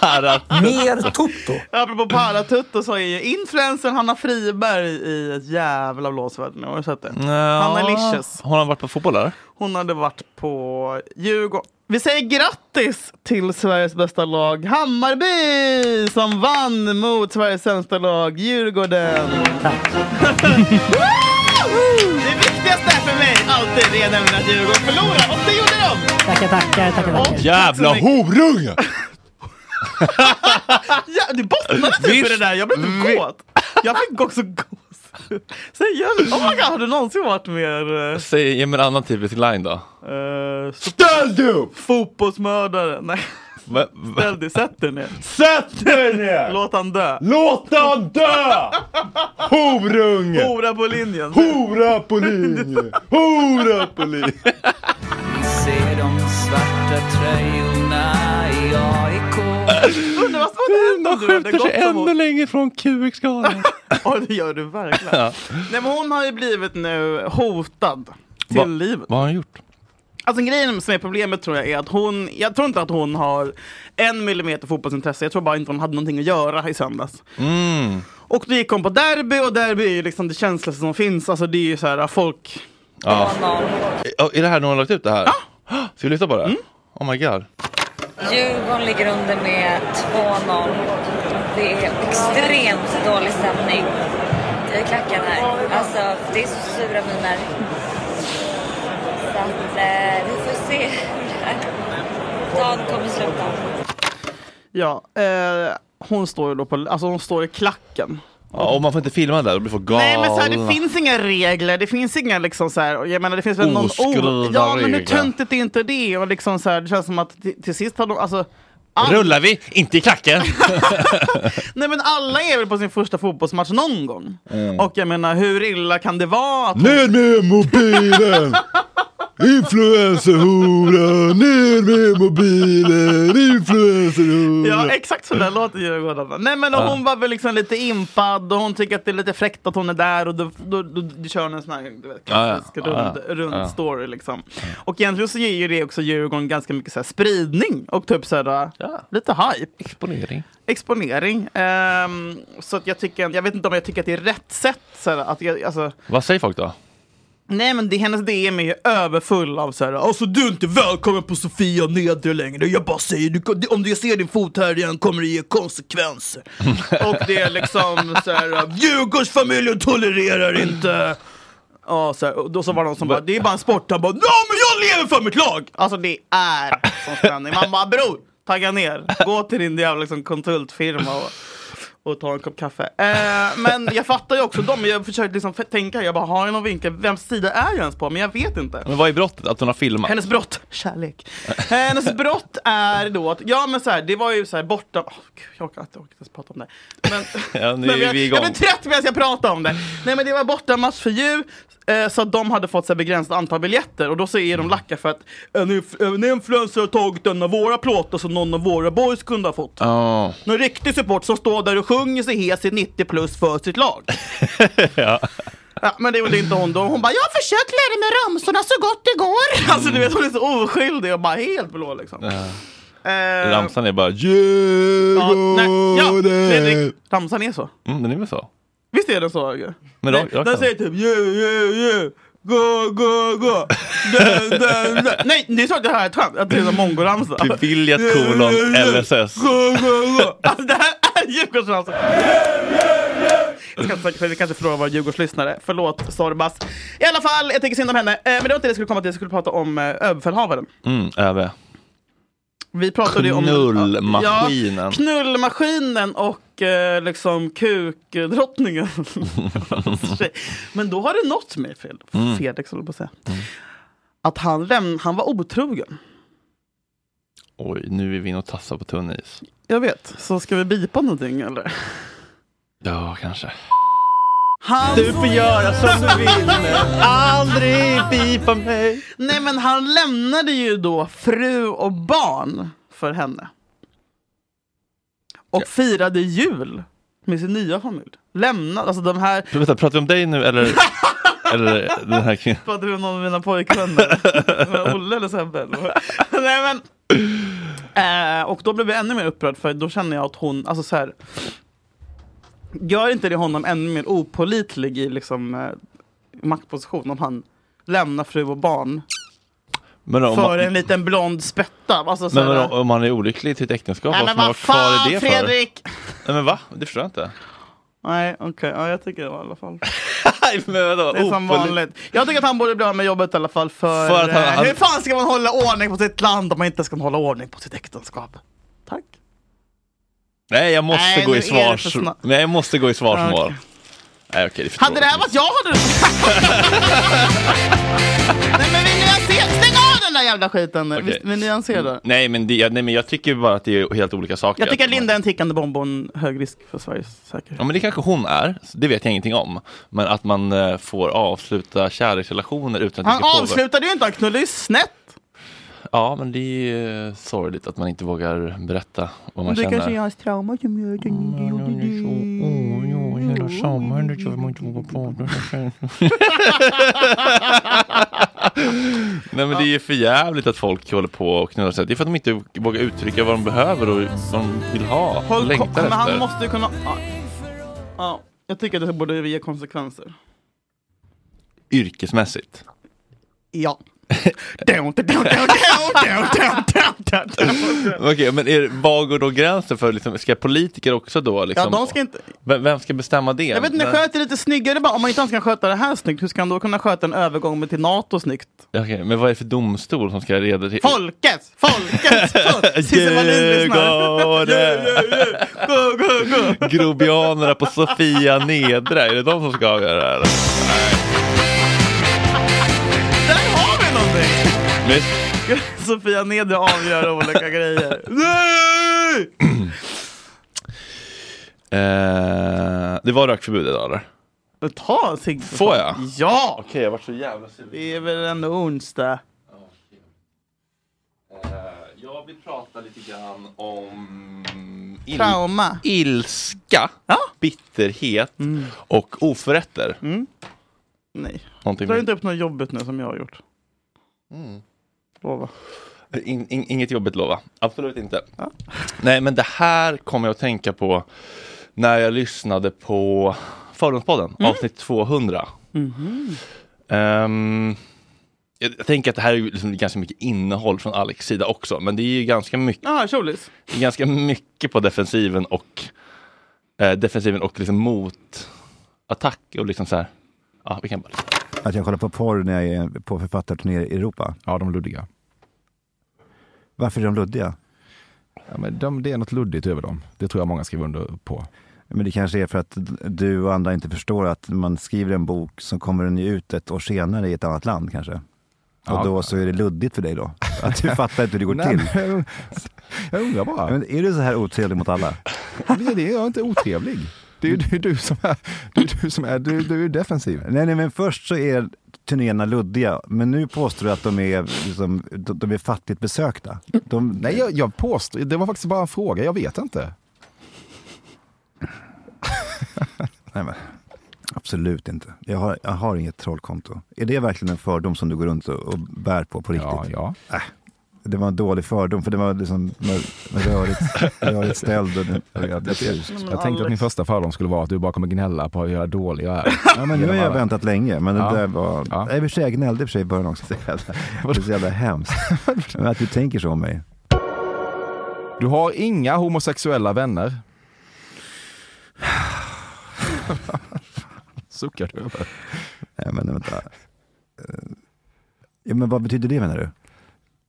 Speaker 3: paratutto.
Speaker 10: Mer Toto.
Speaker 4: Apropå paratutto så är ju influencern Hanna Friberg i ett jävla blåsväder nu. Har du sett det? Hanna Licious.
Speaker 3: Har han varit på fotboll där?
Speaker 4: Hon hade varit på Djurgården. Vi säger grattis till Sveriges bästa lag Hammarby som vann mot Sveriges sämsta lag Djurgården. Woo! det viktigaste är för mig alltid är nämligen att Djurgården förlorar och det gjorde de!
Speaker 10: Tackar, tackar, tackar, tackar.
Speaker 3: Jävla horunge!
Speaker 4: Ja, du bottnade typ i
Speaker 3: Visst.
Speaker 4: det där, jag blev typ
Speaker 3: Vi-
Speaker 4: kåt. Jag fick också gås. Seriöst, oh my god, har du någonsin varit mer eh,
Speaker 3: Säg, ge mig en annan typisk line då.
Speaker 4: eh, stå-
Speaker 3: Ställ dig upp!
Speaker 4: fotbollsmördare? Nej,
Speaker 3: Va-
Speaker 4: ställ dig, sätt dig ner.
Speaker 3: Sätt dig ner!
Speaker 4: Låt han dö.
Speaker 3: Låt han dö! Horunge!
Speaker 4: Hora på linjen.
Speaker 3: Hora på linje! Hora på linje!
Speaker 9: Se de svarta tröjorna i AIK.
Speaker 4: Undrar vad som hade hänt om
Speaker 3: De
Speaker 4: du hade
Speaker 3: skjuter
Speaker 4: gått
Speaker 3: sig ännu
Speaker 4: emot.
Speaker 3: längre från QX-galan.
Speaker 4: Ja, det gör du verkligen. Nej, men hon har ju blivit nu hotad till
Speaker 3: Va-
Speaker 4: livet.
Speaker 3: Vad har han gjort?
Speaker 4: Alltså grejen som är problemet tror jag är att hon, jag tror inte att hon har en millimeter fotbollsintresse, jag tror bara inte hon hade någonting att göra i söndags.
Speaker 3: Mm.
Speaker 4: Och då gick hon på derby och derby är ju liksom det känsligaste som finns, alltså det är ju så här folk
Speaker 3: Ja. Ja, Är det här någon har lagt ut det här? Ja. Ska vi lyssna på det? Oh my god.
Speaker 11: Djurgården ligger under med 2-0. Det är extremt dålig stämning i klacken här. Alltså, det är så sura miner. Så att, eh, vi får se hur det här dagen kommer sluta.
Speaker 4: Ja, eh, hon står ju då på, alltså hon står i klacken.
Speaker 3: Ja, och man får inte filma där, då blir folk galna.
Speaker 4: Nej men så här, det finns inga regler, det finns inga liksom så här, jag menar det finns väl någon
Speaker 3: Oskrivna
Speaker 4: Ja men hur
Speaker 3: regler.
Speaker 4: töntigt är inte det? Och liksom så här, det känns som att till, till sist har de, alltså all-
Speaker 3: Rullar vi? Inte i klacken!
Speaker 4: Nej men alla är väl på sin första fotbollsmatch någon gång.
Speaker 3: Mm.
Speaker 4: Och jag menar hur illa kan det vara? Att,
Speaker 3: Ner med mobilen! Influencerhora! Ner med mobilen! Influencerhora!
Speaker 4: ja exakt så där låter Djurgården. Nej men och hon var väl liksom lite impad och hon tycker att det är lite fräckt att hon är där och då, då, då, då kör hon en sån här du vet,
Speaker 3: Ja, ja.
Speaker 4: klassisk
Speaker 3: Ja, ja.
Speaker 4: rund, rund
Speaker 3: Ja.
Speaker 4: story liksom. Och egentligen så ger ju det också Djurgården ganska mycket så här spridning och typ så här, lite hype.
Speaker 3: Exponering.
Speaker 4: Exponering. Ehm, så att jag tycker, jag vet inte om jag tycker att det är rätt sätt. Så här, att jag, alltså,
Speaker 3: Vad säger folk då?
Speaker 4: Nej men det, hennes DM är ju överfull av såhär Alltså du är inte välkommen på Sofia Nedre längre Jag bara säger, du, kan- om du ser din fot här igen kommer det ge konsekvenser Och det är liksom såhär Djurgårdsfamiljen tolererar inte Ja, så här, och då så var det någon som bara, det är bara en sport, han bara Ja men jag lever för mitt lag! Alltså det är sån spänning, man bara bror, tagga ner, gå till din jävla liksom, konsultfirma och och ta en kopp kaffe. Eh, men jag fattar ju också dem. Jag försökte liksom f- tänka, jag bara har jag någon vinkel? Vems sida är jag ens på? Men jag vet inte.
Speaker 3: Men vad är brottet? Att hon har filmat?
Speaker 4: Hennes brott, kärlek. Hennes brott är då att, ja men så här, det var ju så här borta, Åh, gud, jag orkar inte, jag orkar inte ens prata om det. Men,
Speaker 3: Ja, nu
Speaker 4: men
Speaker 3: är
Speaker 4: jag,
Speaker 3: vi
Speaker 4: jag
Speaker 3: igång.
Speaker 4: blir trött medan jag pratar om det. Nej men det var bortamatch för Djur, eh, så att de hade fått så här, begränsat antal biljetter och då så är de lacka för att en, inf- en influencer har tagit en av våra plåtar som någon av våra boys kunde ha fått.
Speaker 3: Ja.
Speaker 4: Någon riktig support som står där och sjunger sig hes i 90 plus för sitt lag.
Speaker 3: ja.
Speaker 4: Ja, men det gjorde inte hon då. Hon bara, jag har försökt lära mig ramsorna så gott det går. Alltså du vet, hon är så oskyldig och bara helt blå liksom.
Speaker 3: Ja.
Speaker 4: Eh,
Speaker 3: Ramsan är bara Djurgården.
Speaker 4: ja, Fredrik, ramsan är så.
Speaker 3: Mm, den är väl så?
Speaker 4: Visst är den så? Roger?
Speaker 3: Men
Speaker 4: Nej,
Speaker 3: rakt- rakt fram.
Speaker 4: den säger typ yeah, yeah, yeah. Gå, gå, gå! Dö, dö, dö. Nej, det är så att det här är ett skämt, att det är en mongoramsa.
Speaker 3: Beviljat kolon LSS.
Speaker 4: Gå, gå, gå! Alltså det här är alltså. Djurgårdsramsan! Jag ska inte säga- för Vi kanske förlorar våra Djurgårdslyssnare. Förlåt, Sorbas. I alla fall, jag tänker synd om henne. Eh, Men det var inte det jag skulle komma till, jag skulle prata om eh, överbefälhavaren.
Speaker 3: Mm, ÖB.
Speaker 4: Vi pratade ju om...
Speaker 3: Knullmaskinen.
Speaker 4: Ja, knullmaskinen och eh, liksom kukdrottningen. Men då har det nått mig, Fel-
Speaker 3: Mm.
Speaker 4: Felix håller på att säga. Att han, läm- han var otrogen.
Speaker 3: Oj, nu är vi inne och tassar på tunn is.
Speaker 4: Jag vet. Så ska vi bipa någonting eller?
Speaker 3: Ja, kanske.
Speaker 4: Han du får göra som du vill Aldrig bipa mig. Nej men han lämnade ju då fru och barn för henne. Och firade jul med sin nya familj. Lämnade, alltså de här
Speaker 3: Vänta, pratar vi om dig nu eller, eller den här kvinnan?
Speaker 4: Pratade du om någon av mina pojkvänner? Med Olle eller Sebbe? eller vad? Nej, men, eh, och då blev jag ännu mer upprörd för då känner jag att hon, alltså så här. Gör inte det honom ännu mer opålitlig i liksom, eh, maktposition om han lämnar fru och barn
Speaker 3: Men om,
Speaker 4: för
Speaker 3: man,
Speaker 4: en liten blond spetta? Alltså, så
Speaker 3: men,
Speaker 4: här,
Speaker 3: men om man är olycklig i sitt äktenskap,
Speaker 4: Nej,
Speaker 3: varför
Speaker 4: men
Speaker 3: man var kvar
Speaker 4: vad fan
Speaker 3: i det
Speaker 4: Fredrik!
Speaker 3: för? Nej men va? Det förstår jag inte.
Speaker 4: Nej, okej. Ja, jag tycker det var i alla fall.
Speaker 3: men vadå?
Speaker 4: Det är som
Speaker 3: Opålit-
Speaker 4: vanligt. Jag tycker att han borde bli av med jobbet i alla fall. För,
Speaker 3: För att han-
Speaker 4: eh,
Speaker 3: han-
Speaker 4: Hur fan ska man hålla ordning på sitt land om man inte ska hålla ordning på sitt äktenskap? Tack.
Speaker 3: Nej, jag måste
Speaker 4: Nej,
Speaker 3: gå
Speaker 4: nu
Speaker 3: i
Speaker 4: är det
Speaker 3: svars...
Speaker 4: för snabbt.
Speaker 3: Nej, jag måste gå i svarsmål.
Speaker 4: Ja, okej.
Speaker 3: Nej, okej, det är för
Speaker 4: Hade det här varit jag hade du... Nej men vi nyanserar. Stäng av den där jävla skiten. nu. Visst, vi nyanserar.
Speaker 3: Nej men, det, nej, men jag tycker bara att det är helt olika saker.
Speaker 4: Jag tycker att Linda är en tickande bomb och en hög risk för Sveriges säkerhet.
Speaker 3: Ja men det kanske hon är, så det vet jag ingenting om. Men att man eh, får avsluta kärleksrelationer utan att
Speaker 4: Han
Speaker 3: det ska påverka.
Speaker 4: avslutade ju inte, han knullade ju snett.
Speaker 3: Ja men det är ju eh, sorgligt att man inte vågar berätta vad man
Speaker 4: det
Speaker 3: känner. Mm,
Speaker 4: kanske Mm. är hans trauma som gör att han inte gjorde det.
Speaker 3: Hela samhället gör man inte vågar prata själv. Nej men det är ju för jävligt att folk håller på och knullar sig. Det är för att de inte vågar uttrycka vad de behöver och vad de vill ha. och
Speaker 4: Håll ko-
Speaker 3: längtar
Speaker 4: Men
Speaker 3: efter.
Speaker 4: han måste ju kunna... Ja. Ja, jag tycker att det borde ge konsekvenser.
Speaker 3: Yrkesmässigt.
Speaker 4: Ja. Down, down, down, down, down, down, down, down.
Speaker 3: Okej, men är, var går då gränsen för, liksom, ska politiker också då liksom,
Speaker 4: Ja, de ska inte...
Speaker 3: vem, vem ska bestämma det?
Speaker 4: Jag vet inte,
Speaker 3: Men-
Speaker 4: sköter lite snyggare bara. Om man inte ens kan sköta det här snyggt, hur ska han då kunna sköta en övergång med till NATO snyggt?
Speaker 3: Okej, men vad är det för domstol som ska reda till?
Speaker 4: Folket! Folket! folk- Cissi Wallin lyssnar.
Speaker 3: Djurgården!
Speaker 4: Go, go, go!
Speaker 3: Grobianerna på Sofia Nedre, är det de som ska avgöra det här?
Speaker 4: Där har vi någonting!
Speaker 3: Visst?
Speaker 4: Sofia Nedre avgör olika grejer. Nej!
Speaker 3: Eh, det var rökförbud idag eller?
Speaker 4: Men Ta en cigg. för
Speaker 3: Får
Speaker 4: fan.
Speaker 3: jag?
Speaker 4: Ja!
Speaker 3: Okej, jag vart så jävla sur.
Speaker 4: Det är väl ändå onsdag.
Speaker 3: jag vill prata lite grann om il-
Speaker 4: Trauma.
Speaker 3: ilska, bitterhet
Speaker 4: Mm.
Speaker 3: och oförrätter.
Speaker 4: Nej.
Speaker 3: Någonting
Speaker 4: Mm. Dra
Speaker 3: med-
Speaker 4: inte upp något jobbigt nu som jag har gjort.
Speaker 3: Mm.
Speaker 4: Lova.
Speaker 3: In, in, inget jobbigt lova, absolut inte. Nej, men det här kommer jag att tänka på när jag lyssnade på Fördomspodden,
Speaker 4: Mm.
Speaker 3: avsnitt 200.
Speaker 4: Mhm.
Speaker 3: Ehm, jag, jag tänker att det här är ju liksom ganska mycket innehåll från Alex sida också, men det är ju ganska mycket,
Speaker 4: Ja, tjolis.
Speaker 3: det är ganska mycket på defensiven och eh, defensiven och liksom motattack och liksom så här. Ja, vi kan bara.
Speaker 12: Att jag kollar på porr när jag är på författarturné i Europa.
Speaker 13: Ja, de luddiga.
Speaker 12: Varför är de luddiga?
Speaker 13: Ja, men de, det är något luddigt över dem. Det tror jag många skriver under på.
Speaker 12: Men det kanske är för att du och andra inte förstår att man skriver en bok så kommer den ju ut ett år senare i ett annat land kanske. Och
Speaker 13: Ja.
Speaker 12: då så är det luddigt för dig då. Att du fattar inte hur det går
Speaker 13: Nej,
Speaker 12: till.
Speaker 13: men- jag undrar bara.
Speaker 12: Men är du så här otrevlig mot alla?
Speaker 13: Nej, det är jag inte otrevlig. Det är ju det är du som är, det är, du som är, du, du är defensiv.
Speaker 12: Nej, nej, men först så är turnéerna luddiga, men nu påstår du att de är, liksom, de, de är fattigt besökta. De,
Speaker 13: Nej, jag, jag påstår, det var faktiskt bara en fråga, jag vet inte.
Speaker 12: Nej, men, absolut inte. Jag har, jag har inget trollkonto. Är det verkligen en fördom som du går runt och, och bär på på riktigt? Ja. Äh, det var en dålig fördom, för det var liksom det var rörigt, rörigt ställd. Och, och,
Speaker 14: Jag, jag tänkte att min första fördom skulle vara att du bara kommer gnälla på hur jag är dålig jag är.
Speaker 12: Ja, men nu har jag
Speaker 14: Genom alla-
Speaker 12: väntat länge, men det
Speaker 14: Ja.
Speaker 12: där var... Ja. I och för sig, jag gnällde i och för sig i början också. Det är så jävla- det är så jävla hemskt. Men att du tänker så om mig.
Speaker 14: Du har inga homosexuella vänner. Suckar du över?
Speaker 12: Nej, men vänta. Eh, Ja, men vad betyder det menar du?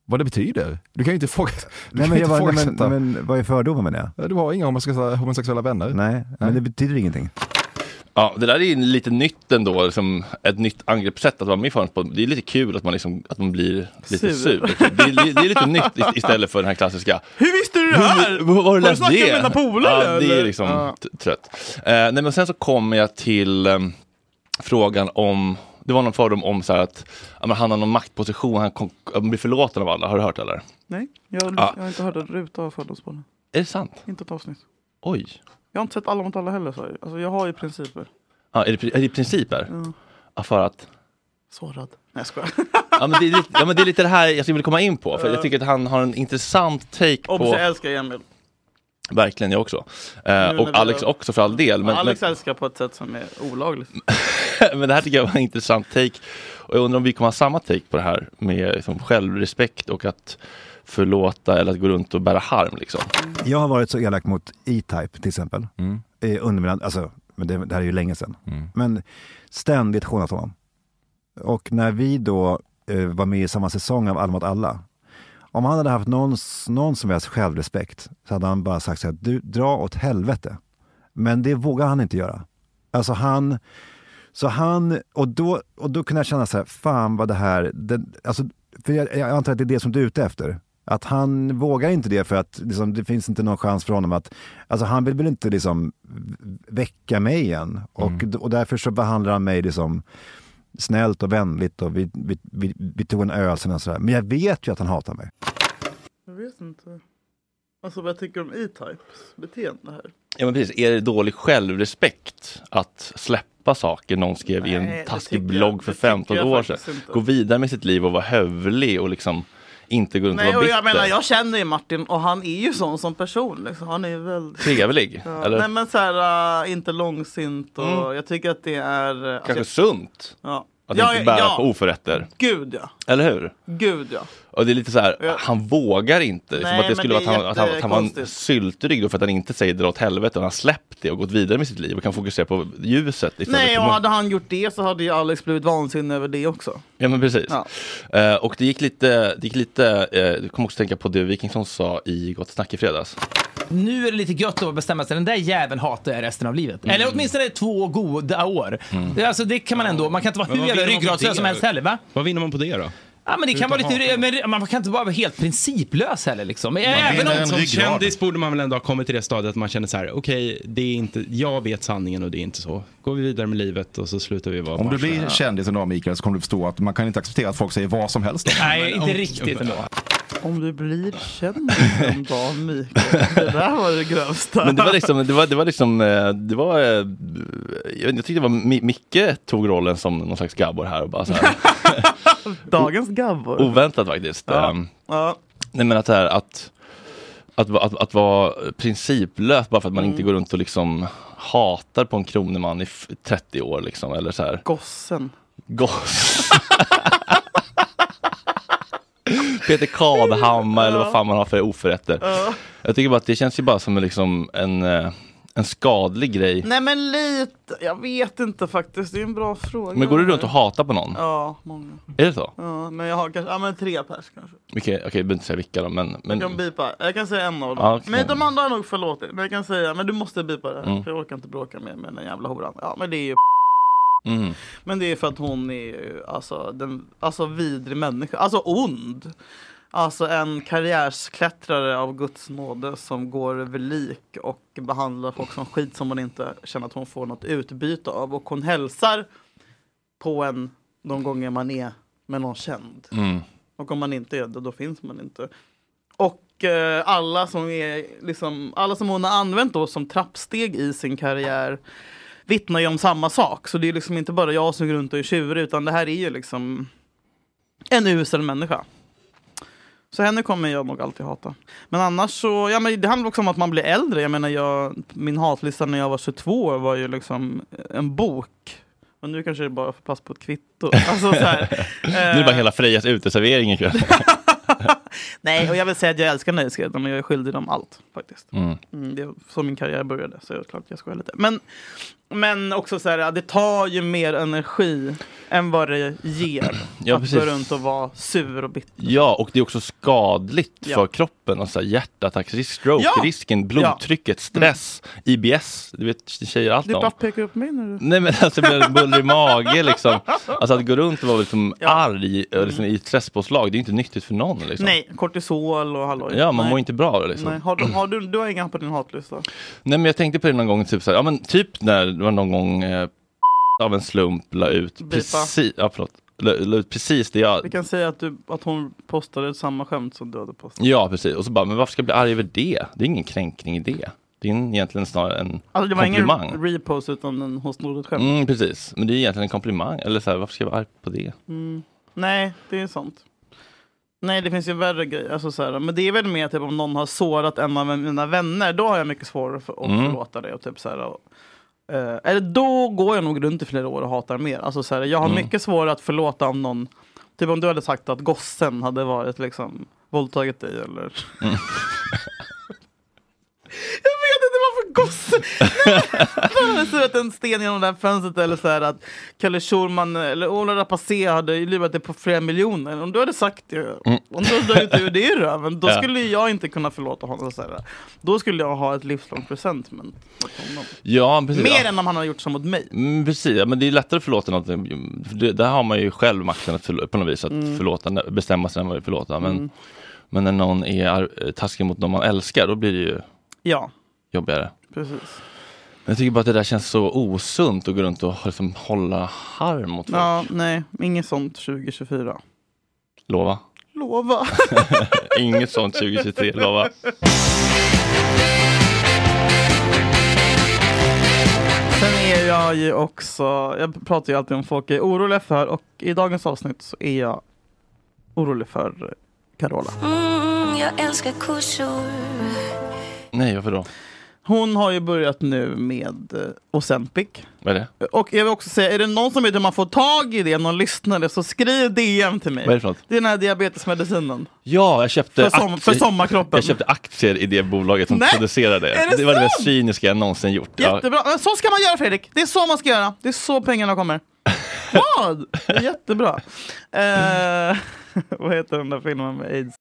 Speaker 14: Vad det betyder? Du kan ju inte fråga... Du
Speaker 12: Nej,
Speaker 14: kan
Speaker 12: men,
Speaker 14: ju inte
Speaker 12: jag bara, nej,
Speaker 14: ifrågasätta.
Speaker 12: men, men vad är fördomen med det?
Speaker 14: Du har inga homosexuella, homosexuella vänner?
Speaker 12: Nej, men det betyder ingenting.
Speaker 3: Ja, det där är ju lite nytt ändå, liksom, ett nytt angreppssätt att vara med i Förhands på. Det är lite kul att man, liksom, att man blir lite
Speaker 4: Sur.
Speaker 3: sur. liksom. Det, är, det är lite nytt i- istället för den här klassiska
Speaker 4: Hur visste du det här?
Speaker 3: Hur, var har du läst
Speaker 4: snackat
Speaker 3: det?
Speaker 4: med mina polare?
Speaker 3: Ja, det
Speaker 4: eller?
Speaker 3: är liksom
Speaker 4: Ja.
Speaker 3: t- trött. Eh, nej, men sen så kommer jag till eh, frågan om, det var någon fördom om så här att ja, men han har någon maktposition, han, kon- han blir förlåten av alla. Har du hört det, eller?
Speaker 4: Nej, jag, har-
Speaker 3: Ja.
Speaker 4: jag har inte hört en ruta av Fördomspodden.
Speaker 3: Är det sant?
Speaker 4: Inte ett avsnitt.
Speaker 3: Oj.
Speaker 4: Jag har inte sett Alla mot alla heller. Så här. alltså, jag har ju principer.
Speaker 3: Ja, är, det, pri- är det principer?
Speaker 4: Ja.
Speaker 3: Ja, för att
Speaker 4: Sårad. Nej, jag skojar.
Speaker 3: Ja men, det är lite, ja men det är lite det här jag skulle komma in på, för jag tycker att han har en intressant take
Speaker 4: Obs,
Speaker 3: på,
Speaker 4: jag älskar Emil.
Speaker 3: verkligen jag också, eh,
Speaker 4: när vi
Speaker 3: och Alex
Speaker 4: har-
Speaker 3: också för all del, men,
Speaker 4: Alex älskar på ett sätt som är olagligt.
Speaker 3: men, men det här tycker jag var en intressant take, och jag undrar om vi kommer ha samma take på det här med liksom, självrespekt och att förlåta eller att gå runt och bära harm liksom.
Speaker 12: Jag har varit så elak mot E-Type till exempel.
Speaker 13: Mm.
Speaker 12: Eh, Under mina, alltså, men det, det här är ju länge sedan. Men ständigt hånat honom. Och när vi då eh, var med i samma säsong av Alla mot alla. Om han hade haft någon, någon som helst självrespekt så hade han bara sagt så här, du dra åt helvete. Men det vågar han inte göra. Alltså han, så han, och då, och då kunde jag känna så här, fan vad det här, den, alltså, för jag, jag antar att det är det som du är ute efter. Att han vågar inte det för att liksom, det finns inte någon chans för honom att, alltså han vill väl inte liksom väcka mig igen. Och,
Speaker 10: Mm.
Speaker 12: och därför så behandlar han mig liksom snällt och vänligt och vi, vi, vi, vi tog en öl sen och sådär. Men jag vet ju att han hatar mig.
Speaker 4: Jag vet inte. Alltså vad jag tycker om E-Types beteende här.
Speaker 3: Ja men precis, är det dålig självrespekt att släppa saker någon skrev i
Speaker 4: Nej, det
Speaker 3: en taskig
Speaker 4: tycker jag-
Speaker 3: blogg för
Speaker 4: det tycker
Speaker 3: 15
Speaker 4: jag
Speaker 3: år sedan?
Speaker 4: faktiskt inte.
Speaker 3: Gå vidare med sitt liv och vara hövlig och liksom inte gå runt och
Speaker 4: Nej,
Speaker 3: vara
Speaker 4: och
Speaker 3: bitter.
Speaker 4: jag menar jag känner ju Martin och han är ju sån som person. Liksom. Han är ju väldigt...
Speaker 3: Trevlig,
Speaker 4: Ja.
Speaker 3: eller?
Speaker 4: Nej men så här, äh, inte långsint och
Speaker 3: Mm.
Speaker 4: jag tycker att det är... äh,
Speaker 3: Kanske
Speaker 4: alltså,
Speaker 3: sunt
Speaker 4: Ja.
Speaker 3: att
Speaker 4: Ja,
Speaker 3: inte bära
Speaker 4: ja.
Speaker 3: på oförrätter.
Speaker 4: Gud ja.
Speaker 3: Eller hur?
Speaker 4: Gud ja.
Speaker 3: Och det är lite så här,
Speaker 4: Ja.
Speaker 3: han vågar inte.
Speaker 4: Nej,
Speaker 3: som att
Speaker 4: men
Speaker 3: det skulle
Speaker 4: det
Speaker 3: vara att
Speaker 4: är
Speaker 3: han, att han, att han var en
Speaker 4: jättekonstigt.
Speaker 3: syltrygg då för att han inte säger dra åt helvete. Och han har släppt det och gått vidare med sitt liv och kan fokusera på ljuset. istället
Speaker 4: Nej
Speaker 3: för
Speaker 4: och
Speaker 3: mörk-
Speaker 4: hade han gjort det så hade ju Alex blivit vansinnig över det också.
Speaker 3: Ja men precis. Eh, och det gick lite, det gick lite, eh, du kommer också tänka på det Wikingsson sa i Gott Snack i fredags.
Speaker 15: Nu är det lite gött att bestämma sig, den där jäveln hatar jag resten av livet. Eller åtminstone två goda år.
Speaker 16: Mm.
Speaker 15: Det, alltså, det kan man ändå, man kan inte vara
Speaker 16: Men
Speaker 15: hur
Speaker 16: vad
Speaker 15: jävla
Speaker 16: vinner man på
Speaker 15: ryggradslös
Speaker 16: det?
Speaker 15: som helst heller va?
Speaker 16: Vad vinner man på det då?
Speaker 15: Ja men det kan vara
Speaker 16: Utan
Speaker 15: lite, men man kan inte bara vara helt principlös heller liksom. Men Även om,
Speaker 16: som kändis borde man väl ändå ha kommit till det stadiet att man känner så här, okej, det är inte, jag vet sanningen och det är inte så. Går vi vidare med livet och så slutar vi vara
Speaker 14: Om du
Speaker 16: barnsliga.
Speaker 14: blir kändis en dag Mikael så kommer du förstå att man kan inte acceptera att folk säger vad som helst.
Speaker 15: Nej, inte riktigt ändå.
Speaker 4: Om du blir känd en dag Mikael. Det där var det grövsta.
Speaker 3: Men det var liksom, det var, det var liksom, eh, det var, eh, jag, vet inte, jag tyckte det var Mi- Micke tog rollen som någon slags gabbor här och bara så här.
Speaker 4: Dagens gabbor.
Speaker 3: Oväntat faktiskt.
Speaker 4: Ja.
Speaker 3: Ehm,
Speaker 4: Ja.
Speaker 3: Nej men att, så här, att, att, va- att, att vara principlös bara för att man
Speaker 4: Mm.
Speaker 3: inte går runt och liksom hatar på en kroneman i f- 30 år liksom eller så här.
Speaker 4: Gossen.
Speaker 3: Goss. Peter Kadhammar eller vad fan man har för oförrätter.
Speaker 4: Ja.
Speaker 3: Jag tycker bara att det känns ju bara som en, liksom en, eh, en skadlig grej.
Speaker 4: Nej men lite, jag vet inte faktiskt. Det är en bra fråga.
Speaker 3: Men går du runt och hatar på någon?
Speaker 4: Ja, många.
Speaker 3: Är det så?
Speaker 4: Ja, men jag har kanske, ja men tre pers kanske.
Speaker 3: Okej, okej, jag behöver inte säga vilka då, men, men
Speaker 4: Jag kan bipa, jag kan säga en av dem.
Speaker 3: Ja, okej.
Speaker 4: Men de andra har nog förlåtit. Men jag kan säga, men du måste bipa det här.
Speaker 3: Mm.
Speaker 4: För jag orkar inte bråka mer med den jävla horan. Ja men det är ju
Speaker 3: Mm.
Speaker 4: Men det är för att hon är ju alltså, den, alltså vidrig människa, alltså ond. Alltså en karriärsklättrare av guds nåde som går över lik och behandlar folk som skit som hon inte känner att hon får något utbyte av. Och hon hälsar på en de gånger man är med någon känd.
Speaker 3: Mm.
Speaker 4: Och om man inte är det, då finns man inte. Och eh, alla som, är, liksom, alla som hon har använt då som trappsteg i sin karriär vittnar ju om samma sak. Så det är liksom inte bara jag som går runt och är tjurig utan det här är ju liksom en usel människa. Så henne kommer jag nog alltid hata. Men annars så, ja men det handlar också om att man blir äldre. Jag menar jag, min hatlista när jag var 22 var ju liksom en bok. Och nu kanske det bara får pass på ett kvitto. Alltså, så här,
Speaker 3: Nu är det bara hela Frejas uteservering ikväll.
Speaker 4: Nej, och jag vill säga att jag älskar nöjesguiden men jag är skyldig dem allt faktiskt.
Speaker 3: Mm.
Speaker 4: Mm, det är så min karriär började, så det är klart jag skojar lite. Men, men också så här, det tar ju mer energi än vad det ger
Speaker 3: Ja,
Speaker 4: att
Speaker 3: precis.
Speaker 4: gå runt och vara sur och bitter.
Speaker 3: Ja, och det är också skadligt
Speaker 4: Ja.
Speaker 3: för kroppen. Alltså hjärtattacksrisk, stroke,
Speaker 4: Ja!
Speaker 3: risken, blodtrycket,
Speaker 4: Ja.
Speaker 3: stress, IBS. Du vet tjejer allt
Speaker 4: Du
Speaker 3: om.
Speaker 4: bara pekar upp mig när du...
Speaker 3: Nej men alltså det blir en bullrig mage liksom. Alltså att gå runt och vara liksom arg eh, liksom, i ett stresspåslag, det är inte nyttigt för någon. Liksom.
Speaker 4: Mm. Nej, kortisol och halloj.
Speaker 3: Ja, man
Speaker 4: Nej.
Speaker 3: mår inte bra av det, liksom.
Speaker 4: Nej. Har, du, har du, du har inga på din hatlista?
Speaker 3: Nej men jag tänkte på det någon gång, typ så här, ja men typ när det var någon gång eh, av en slump la ut
Speaker 4: Bipa.
Speaker 3: precis, ja, förlåt, la, la ut precis det jag
Speaker 4: Vi kan säga att, du, att hon postade samma skämt som du hade postat.
Speaker 3: Ja, precis. Och så bara, men varför ska jag bli arg över det? Det är ingen kränkning i det. Det är en- egentligen snarare en
Speaker 4: Alltså det var
Speaker 3: komplimang.
Speaker 4: ingen repost utan en hos Nordet skämt.
Speaker 3: Mm, precis, men det är egentligen en komplimang. Eller så här, varför ska jag vara arg på det?
Speaker 4: Mm. Nej, det är sånt. Nej, det finns ju värre grejer. Alltså, så här, men det är väl mer typ om någon har sårat en av mina vänner. Då har jag mycket svårare för, att
Speaker 3: Mm.
Speaker 4: förlåta det. Och typ, så här, och, eh, eller då går jag nog runt i flera år och hatar mer. Alltså, så här, jag har
Speaker 3: Mm.
Speaker 4: mycket svårare att förlåta om någon... Typ om du hade sagt att gossen hade varit liksom våldtagit dig eller...
Speaker 3: Mm.
Speaker 4: Jag vet inte varför gosse... Han hade surat en sten genom det här fönstret eller så här att Kalle Schulman eller Ola Rapace hade ju lurat dig på flera miljoner. Om du hade sagt det,
Speaker 3: Mm.
Speaker 4: om du hade dragit ur det i röven, då
Speaker 3: Ja.
Speaker 4: skulle ju jag inte kunna förlåta honom. Så här. Då skulle jag ha ett livslångt resentment mot honom.
Speaker 3: Ja, precis.
Speaker 4: Mer
Speaker 3: ja.
Speaker 4: än om han hade gjort så mot mig.
Speaker 3: Mm, precis, ja, men det är lättare att förlåta något. För det, där har man ju själv makten att förlå- på något vis att
Speaker 4: Mm.
Speaker 3: förlåta, bestämma sig när man vill förlåta. Men,
Speaker 4: Mm.
Speaker 3: men när någon är ar- taskig mot någon man älskar, då blir det ju
Speaker 4: Ja,
Speaker 3: jobbigare.
Speaker 4: precis.
Speaker 3: Men Jag tycker bara att det där känns så osunt att gå runt och liksom hålla harm mot folk.
Speaker 4: Ja, nej, inget sånt 2024.
Speaker 3: Lova.
Speaker 4: Lova.
Speaker 3: Inget sånt 2023, lova.
Speaker 4: Sen är jag ju också, jag pratar ju alltid om folk jag är oroliga för och i dagens avsnitt så är jag orolig för Carola.
Speaker 17: Mm, jag älskar kossor.
Speaker 3: Nej, varför då?
Speaker 4: Hon har ju börjat nu med eh, Ozempic.
Speaker 3: Vad är det?
Speaker 4: Och jag vill också säga, är det någon som vet hur man får tag i det, någon lyssnare, så skriv DM till mig.
Speaker 3: Vad är det för något?
Speaker 4: Det är den här diabetesmedicinen.
Speaker 3: Ja, jag köpte,
Speaker 4: För som-
Speaker 3: aktie-
Speaker 4: för sommarkroppen.
Speaker 3: jag köpte aktier i det bolaget som
Speaker 4: Nej,
Speaker 3: producerade
Speaker 4: är det
Speaker 3: det. Det var det mest
Speaker 4: sant?
Speaker 3: cyniska jag någonsin gjort. Ja.
Speaker 4: Jättebra, men så ska man göra Fredrik. Det är så man ska göra. Det är så pengarna kommer. Vad? Det är Jättebra. Eh, vad heter den där filmen med aids?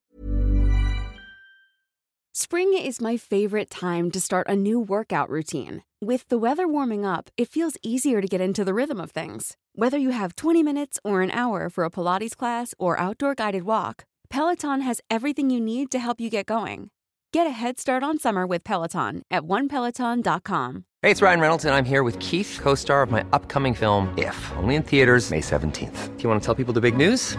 Speaker 18: Spring is my favorite time to start a new workout routine. With the weather warming up, it feels easier to get into the rhythm of things. Whether you have 20 minutes or an hour for a Pilates class or outdoor guided walk, Peloton has everything you need to help you get going. Get a head start on summer with Peloton at onepeloton.com.
Speaker 1: Hey, it's Ryan Reynolds, and I'm here with Keith, co star of my upcoming film, If, only in theaters, May 17th. Do you want to tell people the big news?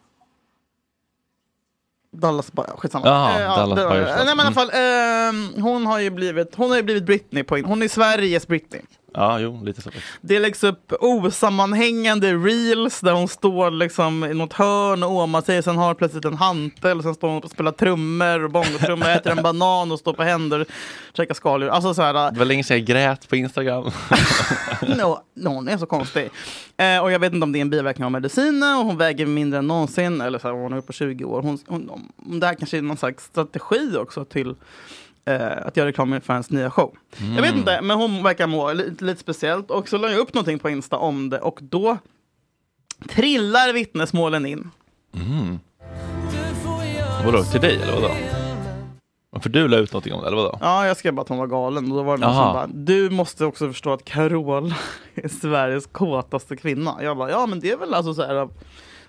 Speaker 4: Dallas Buyers, skitsamma.
Speaker 3: Ja,
Speaker 4: Eh,
Speaker 3: Dallas
Speaker 4: den-
Speaker 3: Buyers. Mm.
Speaker 4: Nej men i alla fall, ehm, hon har ju blivit, hon har ju blivit Britney på in- Hon är Sveriges Britney.
Speaker 3: Ja, jo, lite så.
Speaker 4: Det läggs upp osammanhängande reels där hon står liksom i något hörn och åmar sig. Sen har plötsligt en hantel. Sen står hon och spelar trummor och bongotrummor. äter en banan och står på händer och käkar skaldjur. Alltså så här.
Speaker 3: Det var länge sedan jag grät på Instagram.
Speaker 4: No, no, hon är så konstig. Eh, och jag vet inte om det är en biverkning av mediciner. Och hon väger mindre än någonsin. Eller så här, hon är uppe på 20 år. Hon, hon, om det här kanske är någon slags strategi också till eh, att göra reklam för hennes nya show. Jag vet
Speaker 3: Mm.
Speaker 4: inte, men hon verkar må lite, lite speciellt. Och så la jag upp någonting på Insta om det och då trillar vittnesmålen in.
Speaker 3: Mm. Vadå, till dig eller vadå? För du la ut någonting om det eller vadå?
Speaker 4: Ja, jag skrev bara att hon var galen och då var det någon
Speaker 3: Aha.
Speaker 4: som bara, du måste också förstå att Carola är Sveriges kåtaste kvinna. Jag bara, ja men det är väl alltså så här,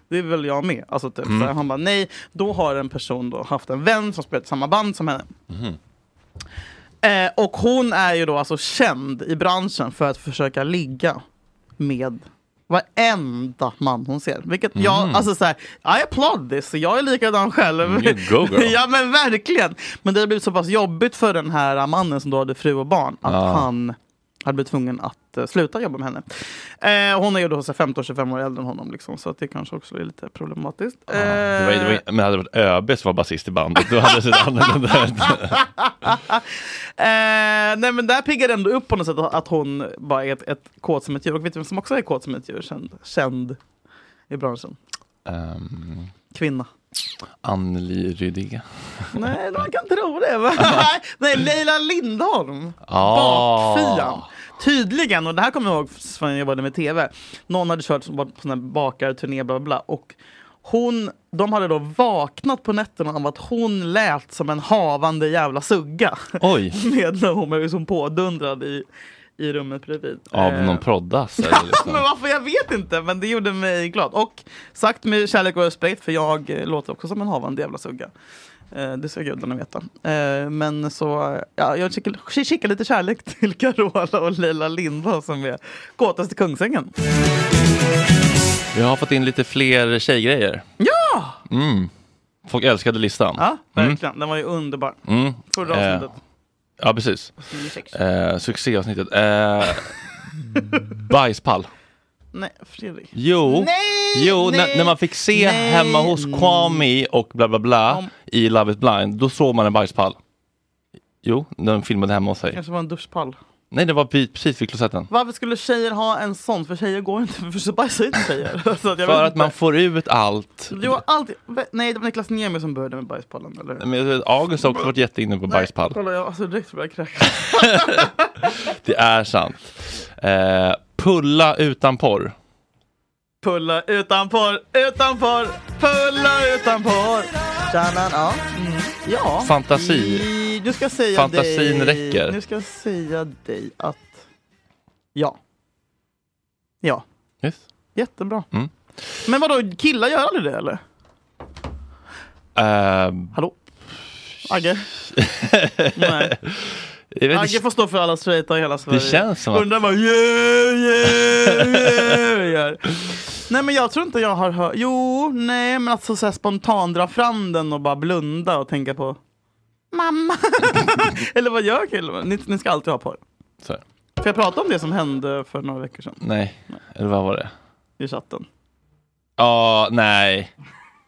Speaker 4: det är väl jag med. Alltså typ,
Speaker 3: Mm.
Speaker 4: så här, han bara, nej, då har en person då haft en vän som spelat i samma band som henne.
Speaker 3: Mhm.
Speaker 4: Eh, och hon är ju då alltså känd i branschen för att försöka ligga med varenda man hon ser. Vilket jag,
Speaker 3: Mm.
Speaker 4: alltså så här, I applaud this, jag är likadan själv.
Speaker 3: You go, girl.
Speaker 4: ja men verkligen. Men det har blivit så pass jobbigt för den här mannen som då hade fru och barn att
Speaker 3: Ja.
Speaker 4: han hade blivit tvungen att eh, sluta jobba med henne. Eh, hon är ju då 15-25 år äldre än honom liksom, så att det kanske också är lite problematiskt.
Speaker 3: Det var, det
Speaker 4: Eh,
Speaker 3: var, men hade det varit ÖB som var basist i bandet, då hade det sett annorlunda ut.
Speaker 4: Eh, nej men där piggar det ändå upp på något sätt att hon bara är ett, ett kåt som ett djur. Och vet du vem som också är kåt som ett djur? Känd, känd i branschen.
Speaker 3: Ehm,
Speaker 4: Kvinna.
Speaker 3: Anneli Rydinge.
Speaker 4: Nej, man kan tro det. va? nej, Leila Lindholm.
Speaker 3: Ah.
Speaker 4: Bakfian. Tydligen, och det här kommer jag ihåg från när jag jobbade med TV. Någon hade kört som- varit på sån här bakarturné bla bla bla. Och hon, de hade då vaknat på nätterna av att hon lät som en havande jävla sugga.
Speaker 3: Oj.
Speaker 4: med när hon blev liksom pådundrad i, i rummet bredvid.
Speaker 3: Av
Speaker 4: Eh,
Speaker 3: någon proddas. eller liksom.
Speaker 4: men varför? Jag vet inte. Men det gjorde mig glad. Och sagt med kärlek och respekt, för jag eh, låter också som en havande jävla sugga. Eh, Det ska gudarna veta. Eh, Men så, eh, ja, jag skickar, skickar lite kärlek till Carola och Leila Lindholm som är kåtast i Kungsängen.
Speaker 3: Jag har fått in lite fler tjejgrejer.
Speaker 4: Ja!
Speaker 3: Mm. Folk älskade listan.
Speaker 4: Ja,
Speaker 3: Mm.
Speaker 4: verkligen. Den var ju underbar.
Speaker 3: Mm.
Speaker 4: Förra
Speaker 3: Eh,
Speaker 4: avsnittet.
Speaker 3: Ja, precis.
Speaker 4: Avsnitt sex.
Speaker 3: Eh, succéavsnittet. Eh, bajspall.
Speaker 4: Nej, Fredrik.
Speaker 3: Jo,
Speaker 4: Nej,
Speaker 3: jo
Speaker 4: nej,
Speaker 3: när, när man fick se
Speaker 4: nej.
Speaker 3: hemma hos Kwame och bla bla bla i Love is blind, då såg man en bajspall. Jo, när de filmade hemma hos
Speaker 4: Det
Speaker 3: sig.
Speaker 4: kanske var en duschpall.
Speaker 3: Nej, det var pi- precis vid klosetten.
Speaker 4: Varför skulle tjejer ha en sån? För tjejer går inte, för så bajsar inte tjejer. Så att jag vet
Speaker 3: För att
Speaker 4: inte.
Speaker 3: man får ut allt.
Speaker 4: Jo, alltid. Nej, det var Niklas Niemi som började med bajspallen, eller hur?
Speaker 3: Men jag vet, August har också varit jätteinne på bajspall.
Speaker 4: Kolla, jag alltså direkt börjar kräkas.
Speaker 3: Det är sant. Eh, pulla utan porr.
Speaker 4: Pulla utan porr, utan porr, pulla utan porr. Tjanan, ja. Mm. ja.
Speaker 3: Fantasi.
Speaker 4: I- Nu ska jag säga
Speaker 3: Fantasin
Speaker 4: dig,
Speaker 3: räcker.
Speaker 4: Nu ska jag säga dig att ja. Ja.
Speaker 3: Yes.
Speaker 4: Jättebra.
Speaker 3: Mm.
Speaker 4: Men vadå, killar gör aldrig det eller?
Speaker 3: Eh,
Speaker 4: Hallå? Agge? Nej.
Speaker 3: jag vet
Speaker 4: Agge
Speaker 3: inte,
Speaker 4: får stå för alla straighta i hela Sverige.
Speaker 3: känns som att-
Speaker 4: Undrar vad yeah, yeah, yeah gör. Nej men jag tror inte jag har hört. Jo, nej men alltså så här spontant dra fram den och bara blunda och tänka på mamma. Eller vad gör killar? Ni, ni ska alltid ha porr.
Speaker 3: Så här.
Speaker 4: Får jag prata om det som hände för några veckor sedan
Speaker 3: nej, eller vad var det?
Speaker 4: i chatten?
Speaker 3: Ja, nej.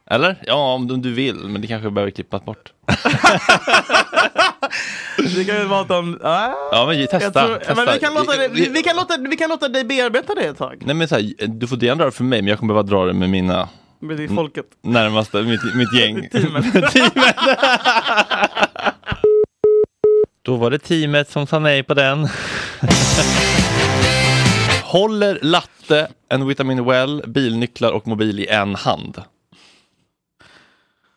Speaker 3: Eller? Ja, om du- om du vill, men det kanske behöver klippas bort.
Speaker 4: Vi kan ju prata om... Ah,
Speaker 3: Ja, men testa.
Speaker 4: jag tror-
Speaker 3: testa.
Speaker 4: men vi, kan låta det, vi, vi, kan låta, vi kan låta dig bearbeta det ett tag.
Speaker 3: Nej, men så här, du får gärna dra det för mig, men jag kommer behöva dra det med mina
Speaker 4: Med det folket.
Speaker 3: närmaste, mitt, mitt gäng.
Speaker 4: Teamet.
Speaker 3: Då var det teamet som sa nej på den. Håller latte, en vitamin well, bilnycklar och mobil i en hand.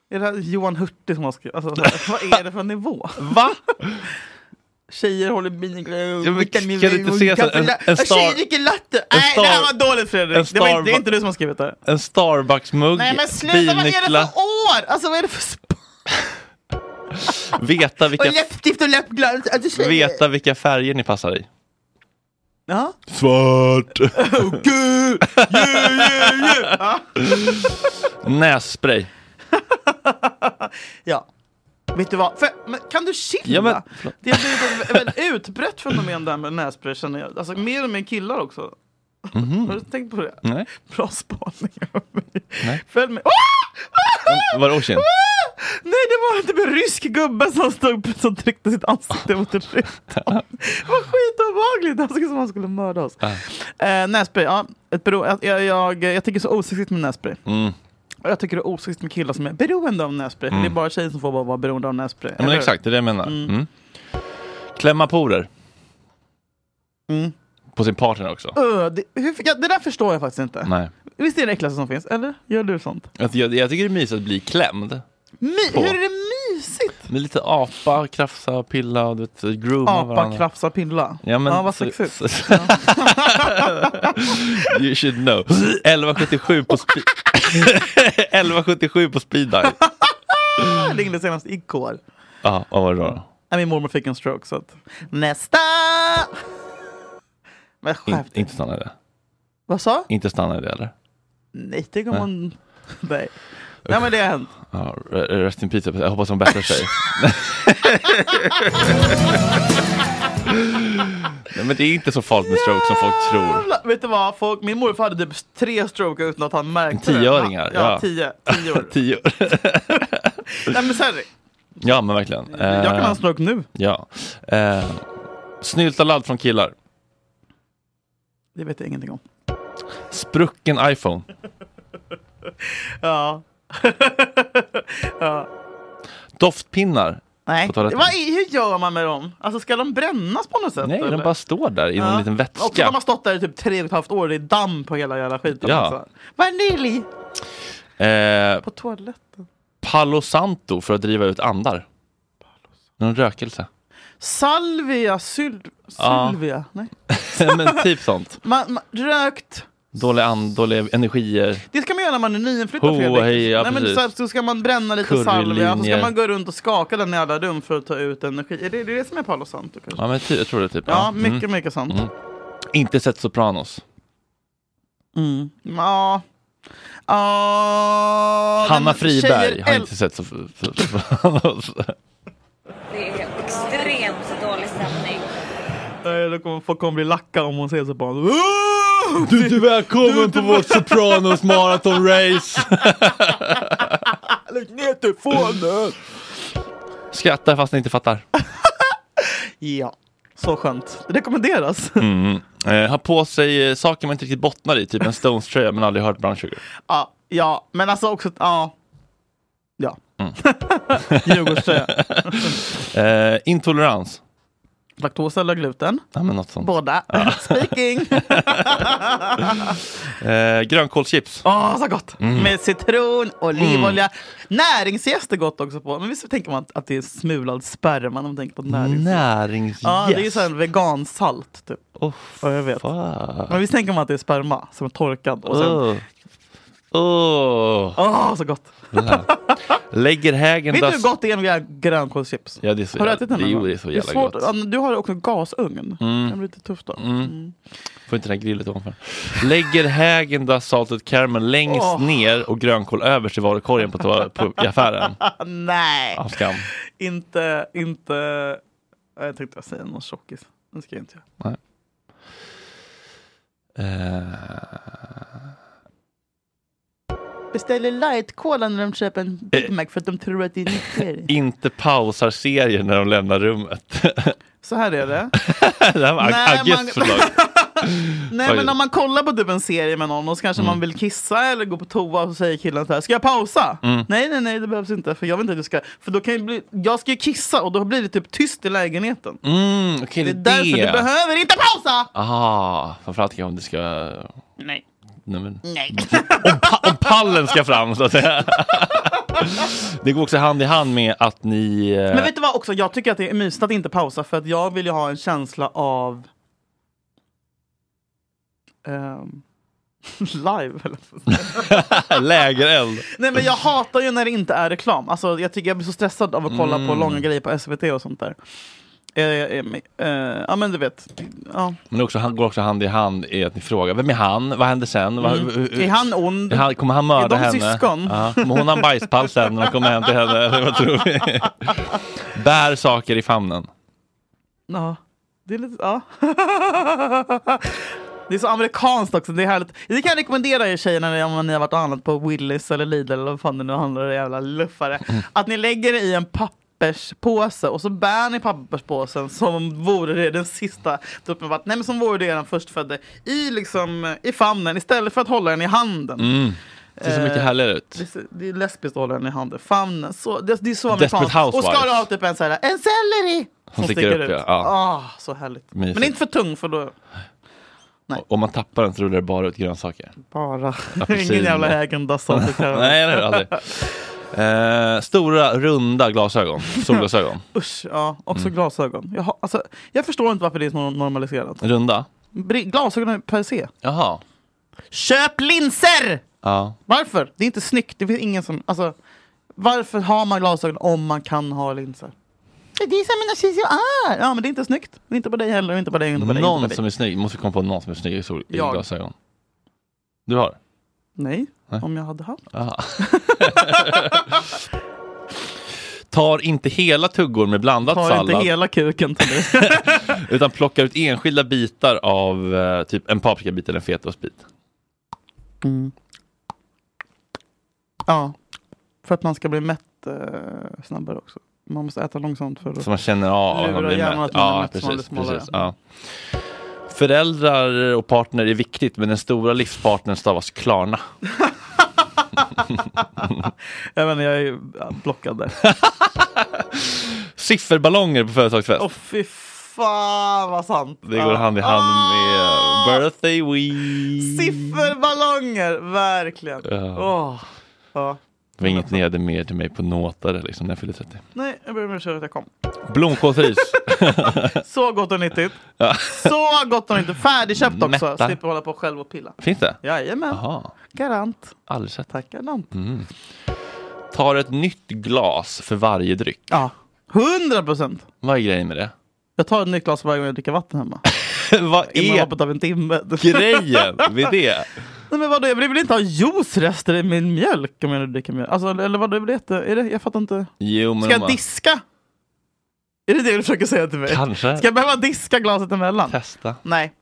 Speaker 4: Är det här Johan Hurtig som har skrivit? Alltså, så här, vad är det för nivå?
Speaker 3: Va?
Speaker 4: Tjejer håller bilen...
Speaker 3: Ja, men kan du inte se så- en- en star-
Speaker 4: Tjejer dricker latte! Nej, det här var dåligt
Speaker 3: en
Speaker 4: Fredrik! Det, var,
Speaker 3: star-
Speaker 4: inte- det är inte du som har skrivit det.
Speaker 3: En Starbucks-mugg,
Speaker 4: Nej men sluta, vad är det
Speaker 3: bilnycklar,
Speaker 4: för år? Alltså vad är det för... sp-
Speaker 3: veta vilka,
Speaker 4: Och läppstift och läppglans! Alltså, tjejer-
Speaker 3: veta vilka färger ni passar i.
Speaker 4: Ja.
Speaker 3: Svart!
Speaker 4: Gud! Yeah, yeah, yeah. Ja.
Speaker 3: Nässpray.
Speaker 4: Ja. Vet du vad? För, men kan du chilla?
Speaker 3: Ja, men-
Speaker 4: det har blivit en, en utbrett fenomen där med nässpray känner jag. Alltså mer och mer killar också. Har du tänkt på det?
Speaker 3: Mhm. Nej.
Speaker 4: Bra spaning av
Speaker 3: mig.
Speaker 4: Följ med. Ah!
Speaker 3: Var det Ocean?
Speaker 4: Ah! Nej det var inte en rysk gubbe som stod som tryckte sitt ansikte mot en ruta. Det var skitobehagligt. Han såg ut som om han skulle mörda oss. Eh, nässpray, ja. Ett bero- jag, jag, jag, jag tycker det är så osexigt med nässpray.
Speaker 3: Mm.
Speaker 4: Och jag tycker det är osexigt med killar som är beroende av nässpray.
Speaker 3: Mm.
Speaker 4: För det är bara tjejer som får bara vara beroende av nässpray.
Speaker 3: Ja, men
Speaker 4: eller hur?
Speaker 3: exakt, det är det jag menar.
Speaker 4: Mm.
Speaker 3: Mm. Klämma porer.
Speaker 4: Mm.
Speaker 3: På sin partner också.
Speaker 4: Öh, det, hur fick jag, det där förstår jag faktiskt inte.
Speaker 3: Nej.
Speaker 4: Visst är det det äckligaste som finns? Eller? Gör du sånt?
Speaker 3: Jag, jag, jag tycker det är mysigt att bli klämd.
Speaker 4: My,
Speaker 3: På.
Speaker 4: hur är det mysigt?
Speaker 3: Med lite apa, krafsa, pilla, du vet, grooma
Speaker 4: Apa,
Speaker 3: varandra.
Speaker 4: krafsa, pilla.
Speaker 3: Ja, men
Speaker 4: vad
Speaker 3: så-
Speaker 4: sexigt.
Speaker 3: så- You should know. 1177 på, spe- 1177 på speed dial.
Speaker 4: Jag ringde senast igår.
Speaker 3: Ja, vad var det då?
Speaker 4: Nej, Min mormor fick en stroke så att... Nästa! Men
Speaker 3: In,
Speaker 4: skärp
Speaker 3: inte stanna i det.
Speaker 4: Vad sa?
Speaker 3: Inte stanna i det eller?
Speaker 4: Nej, tänk om
Speaker 3: Nej.
Speaker 4: hon... Nej. Nej men det har hänt.
Speaker 3: Ja, re- rest in peace. Jag hoppas hon bättrar sig. Nej, men det är inte så farligt med stroke som folk tror.
Speaker 4: Jävlar, Vet du vad? Folk, min morfar hade typ tre stroke utan att han märkte det.
Speaker 3: Tioöringar.
Speaker 4: Ja, ja. tio. Tio år.
Speaker 3: tio år.
Speaker 4: Nej men sorry.
Speaker 3: Ja, men verkligen.
Speaker 4: Jag kan ha en
Speaker 3: Eh,
Speaker 4: stroke nu.
Speaker 3: Ja. Eh, snylta ladd från killar.
Speaker 4: Det vet jag ingenting om.
Speaker 3: Sprucken iPhone.
Speaker 4: Ja. ja.
Speaker 3: Doftpinnar.
Speaker 4: Nej.
Speaker 3: På toaletten.
Speaker 4: Vad, i- hur gör man med dem? Alltså ska de brännas på något sätt?
Speaker 3: Nej,
Speaker 4: eller?
Speaker 3: de bara står där i någon
Speaker 4: Ja.
Speaker 3: liten
Speaker 4: Och de
Speaker 3: vätska.
Speaker 4: har stått där i typ tre och ett halvt år. Det är damm på hela jävla skiten.
Speaker 3: Ja.
Speaker 4: Alltså. Vanilj!
Speaker 3: Eh,
Speaker 4: På toaletten.
Speaker 3: Palo Santo för att driva ut andar. Någon rökelse.
Speaker 4: Salvia, syl-
Speaker 3: Ja.
Speaker 4: sylvia. Nej.
Speaker 3: men typ sånt.
Speaker 4: Man, man, rökt.
Speaker 3: Dåliga, and, dåliga energier.
Speaker 4: Det ska man göra när man är nyinflyttad
Speaker 3: Ho,
Speaker 4: Fredrik.
Speaker 3: hej, ja,
Speaker 4: Nej, men
Speaker 3: precis.
Speaker 4: så, här, så ska man bränna lite
Speaker 3: Currylinjer.
Speaker 4: salvia, så ska man gå runt och skaka den i alla rum för att ta ut energi. Är det det, är det som är Palo Santo? Kanske?
Speaker 3: Ja, Mm. men ty, jag tror det typ.
Speaker 4: Ja, mycket, mycket sant.
Speaker 3: Inte sett Sopranos.
Speaker 4: Mm. Ja. Ja, nej,
Speaker 3: Hanna
Speaker 4: men
Speaker 3: Friberg
Speaker 4: tjejer
Speaker 3: har
Speaker 4: äl-
Speaker 3: inte sett Sof- Sopranos.
Speaker 11: Det är extremt dålig stämning.
Speaker 4: Nej, då kommer folk kommer bli lacka om hon ser sig på honom.
Speaker 3: Du är inte välkommen på vårt Sopranos maratonrace.
Speaker 4: Lägg ner telefonen!
Speaker 3: Skrattar fast ni inte fattar.
Speaker 4: Ja, så skönt. Det rekommenderas.
Speaker 3: Mm. Eh, ha på sig eh, saker man inte riktigt bottnar i, typ en Stones-tröja men aldrig hört Brown Sugar.
Speaker 4: Ja, ja, men alltså också... Ja. Ja.
Speaker 3: Mm.
Speaker 4: Djurgårdströja.
Speaker 3: eh, intolerans.
Speaker 4: Laktos eller gluten?
Speaker 3: Ja, men något sånt.
Speaker 4: Båda. Speaking!
Speaker 3: Eh, grönkålschips.
Speaker 4: Åh, så gott!
Speaker 3: Mm.
Speaker 4: Med citron, olivolja. Näringsjäst Mm. är gott också på. Men visst tänker man att- att det är smulad sperma när man tänker på näringsjäst?
Speaker 3: Näringsjäst.
Speaker 4: Ja, det är ju sån vegansalt typ.
Speaker 3: Oh,
Speaker 4: ja, jag vet. Men visst tänker man att det är sperma som är torkad? Och sen,
Speaker 3: Åh. Åh.
Speaker 4: Åh, så gott!
Speaker 3: Lägger hägen
Speaker 4: Vet du hur
Speaker 3: dass-
Speaker 4: gott det är med grönkålschips?
Speaker 3: Ja, det är så
Speaker 4: har du
Speaker 3: jävla-
Speaker 4: ätit den?
Speaker 3: det-
Speaker 4: någon
Speaker 3: jo,
Speaker 4: gång?
Speaker 3: det är så jävla
Speaker 4: svårt.
Speaker 3: gott.
Speaker 4: Ja, men Du har också gasugn.
Speaker 3: Mm.
Speaker 4: Det blir lite tufft då.
Speaker 3: Mm. Får inte den här grillet ovanför. Lägger hägen där saltet caramel längst
Speaker 4: Åh.
Speaker 3: ner och grönkål överst i varukorgen på, toa- på i affären.
Speaker 4: Mm. Nej,
Speaker 3: Av skam.
Speaker 4: inte, inte... ja, Jag tänkte jag säga någon tjockis. Det ska jag inte göra.
Speaker 3: Nej. Eh,
Speaker 4: Beställer light-cola när de köper en Big Mac för att de tror att det är nykter.
Speaker 3: inte pausar serier när de lämnar rummet.
Speaker 4: Så här är det.
Speaker 3: det här var Ag-
Speaker 4: Nej,
Speaker 3: Agges
Speaker 4: man-
Speaker 3: förslag.
Speaker 4: Nej men när man kollar på typ en serie med någon och så kanske
Speaker 3: Mm.
Speaker 4: man vill kissa eller gå på toa och så säger killen så här, ska jag pausa?
Speaker 3: Mm.
Speaker 4: Nej nej nej det behövs inte för jag vill inte att du ska, för då kan jag bli, jag ska ju kissa och då blir det typ tyst i lägenheten.
Speaker 3: Mm, okej,
Speaker 4: Det är
Speaker 3: det är
Speaker 4: därför du behöver inte pausa!
Speaker 3: Ah, framförallt kanske om du ska...
Speaker 4: Nej.
Speaker 3: Nej, men...
Speaker 4: Nej.
Speaker 3: om, pa- om pallen ska fram så att säga. Det går också hand i hand med att ni... eh,
Speaker 4: Men vet du vad också, jag tycker att det är mysigt att inte pausa för att jag vill ju ha en känsla av ehm, live eller
Speaker 3: Lägereld.
Speaker 4: Nej men jag hatar ju när det inte är reklam. Alltså, jag tycker jag blir så stressad av att kolla på
Speaker 3: Mm.
Speaker 4: långa grejer på SVT och sånt där. Eh, eh, eh, ja men du vet. Ja.
Speaker 3: Men det också, han går också hand i hand i att ni frågar, vem är han? Vad händer sen? Vad-
Speaker 4: Mm.
Speaker 3: hur- hur-
Speaker 4: Är han ond?
Speaker 3: eh, Är han- kommer han mörda
Speaker 4: Är de
Speaker 3: henne?
Speaker 4: syskon?
Speaker 3: Ja. Kommer hon ha en bajspall sen när de kommer hem till henne? Eller vad tror vi? Bär saker i famnen.
Speaker 4: Ja. Det är lite, ja. Det är så amerikanskt också. Det är härligt. Det kan jag rekommendera er tjejerna om ni har varit och handlat på Willys eller Lidl eller vad fan det nu handlar om, jävla luffare. Att ni lägger det i en papperspåse och så bär ni papperspåsen som vore det den sista droppen vatten. Nej men som vore det den förstfödde i, liksom, i famnen istället för att hålla den i handen.
Speaker 3: Mm. Det ser så mycket
Speaker 4: Eh,
Speaker 3: härligare ut.
Speaker 4: Det, ser- det är lesbiskt att hålla den i handen. Famnen, så, det, det är så
Speaker 3: Desperate
Speaker 4: amerikanskt. Och ska du
Speaker 3: Housewives.
Speaker 4: ha typ en så här, en selleri!
Speaker 3: Som sticker upp, ja. Ja.
Speaker 4: Ah, så härligt.
Speaker 3: Mysigt.
Speaker 4: Men inte för tung för då...
Speaker 3: Och Om man tappar den så rullar det bara ut grönsaker.
Speaker 4: Bara.
Speaker 3: Apelsin.
Speaker 4: Ingen jävla ägendass av det här.
Speaker 3: Nej, det är det aldrig. Eh, stora, runda glasögon. Solglasögon.
Speaker 4: Usch, ja. Också
Speaker 3: Mm.
Speaker 4: glasögon. Jag, har, alltså, jag förstår inte varför det är så normaliserat.
Speaker 3: Runda?
Speaker 4: Bri- Glasögon per se.
Speaker 3: Jaha.
Speaker 4: Köp linser!
Speaker 3: Ja.
Speaker 4: Varför? Det är inte snyggt. Det finns ingen som... Alltså, varför har man glasögon om man kan ha linser? Det är som mina tjejer är. Ja, men det är inte snyggt. Det är Inte på dig heller, och inte på dig, och inte på dig. och
Speaker 3: Någon
Speaker 4: inte på
Speaker 3: som
Speaker 4: dig.
Speaker 3: är snygg. Måste komma på någon som är snygg i, sol- i
Speaker 4: Jag.
Speaker 3: glasögon. Du har?
Speaker 4: Nej,
Speaker 3: Nej.
Speaker 4: om jag hade haft.
Speaker 3: Jaha. Tar inte hela tuggor med blandat
Speaker 4: Ta
Speaker 3: sallad.
Speaker 4: inte hela kuken till dig.
Speaker 3: Utan plockar ut enskilda bitar av eh, typ en paprikabit eller en fetaostbit.
Speaker 4: Mm. ja, för att man ska bli mätt eh, snabbare också. Man måste äta långsamt för att...
Speaker 3: Så man känner av att man
Speaker 4: Lura
Speaker 3: blir
Speaker 4: hjärnan
Speaker 3: mätt.
Speaker 4: att man är
Speaker 3: Ja,
Speaker 4: mätt, så man
Speaker 3: precis,
Speaker 4: blir smalare.
Speaker 3: precis, ja. Föräldrar och partner är viktigt men den stora livspartnern stavas Klarna.
Speaker 4: Jag vet inte, jag är ju ja, blockad där.
Speaker 3: Sifferballonger på företagsfest.
Speaker 4: Åh fy fan Ah! vad sant!
Speaker 3: Det går hand i hand med eh, birthday week.
Speaker 4: Sifferballonger, verkligen.
Speaker 3: Ja.
Speaker 4: Åh, ja.
Speaker 3: Det var inget ni hade med till mig på nåtare liksom, när jag fyllde 30.
Speaker 4: Nej, jag ber om ursäkt att jag kom.
Speaker 3: Blomkålsris.
Speaker 4: Så gott och nyttigt.
Speaker 3: Ja.
Speaker 4: Så gott och nyttigt. Färdigköpt också.
Speaker 3: Mättar.
Speaker 4: Slipper hålla på själv och pilla.
Speaker 3: Finns det?
Speaker 4: Jajamän.
Speaker 3: Aha.
Speaker 4: Garant.
Speaker 3: Aldrig sett.
Speaker 4: Garant.
Speaker 3: Mm. Tar ett nytt glas för varje dryck.
Speaker 4: Ja, 100 procent.
Speaker 3: Vad är grejen med det?
Speaker 4: Jag tar ett nytt glas varje gång jag dricker vatten hemma.
Speaker 3: Vad
Speaker 4: Inom
Speaker 3: är
Speaker 4: loppet av en timme.
Speaker 3: grejen med det?
Speaker 4: Nej, men vadå, jag vill inte ha juicerester i min mjölk om jag nu dricker mjölk. Alltså, eller vadå, är det, jätte- är det, jag fattar inte.
Speaker 3: Jo, men
Speaker 4: Ska jag
Speaker 3: man-
Speaker 4: diska? Är det det du försöker säga till mig?
Speaker 3: Kanske.
Speaker 4: Ska jag behöva diska glaset emellan?
Speaker 3: Testa.
Speaker 4: Nej.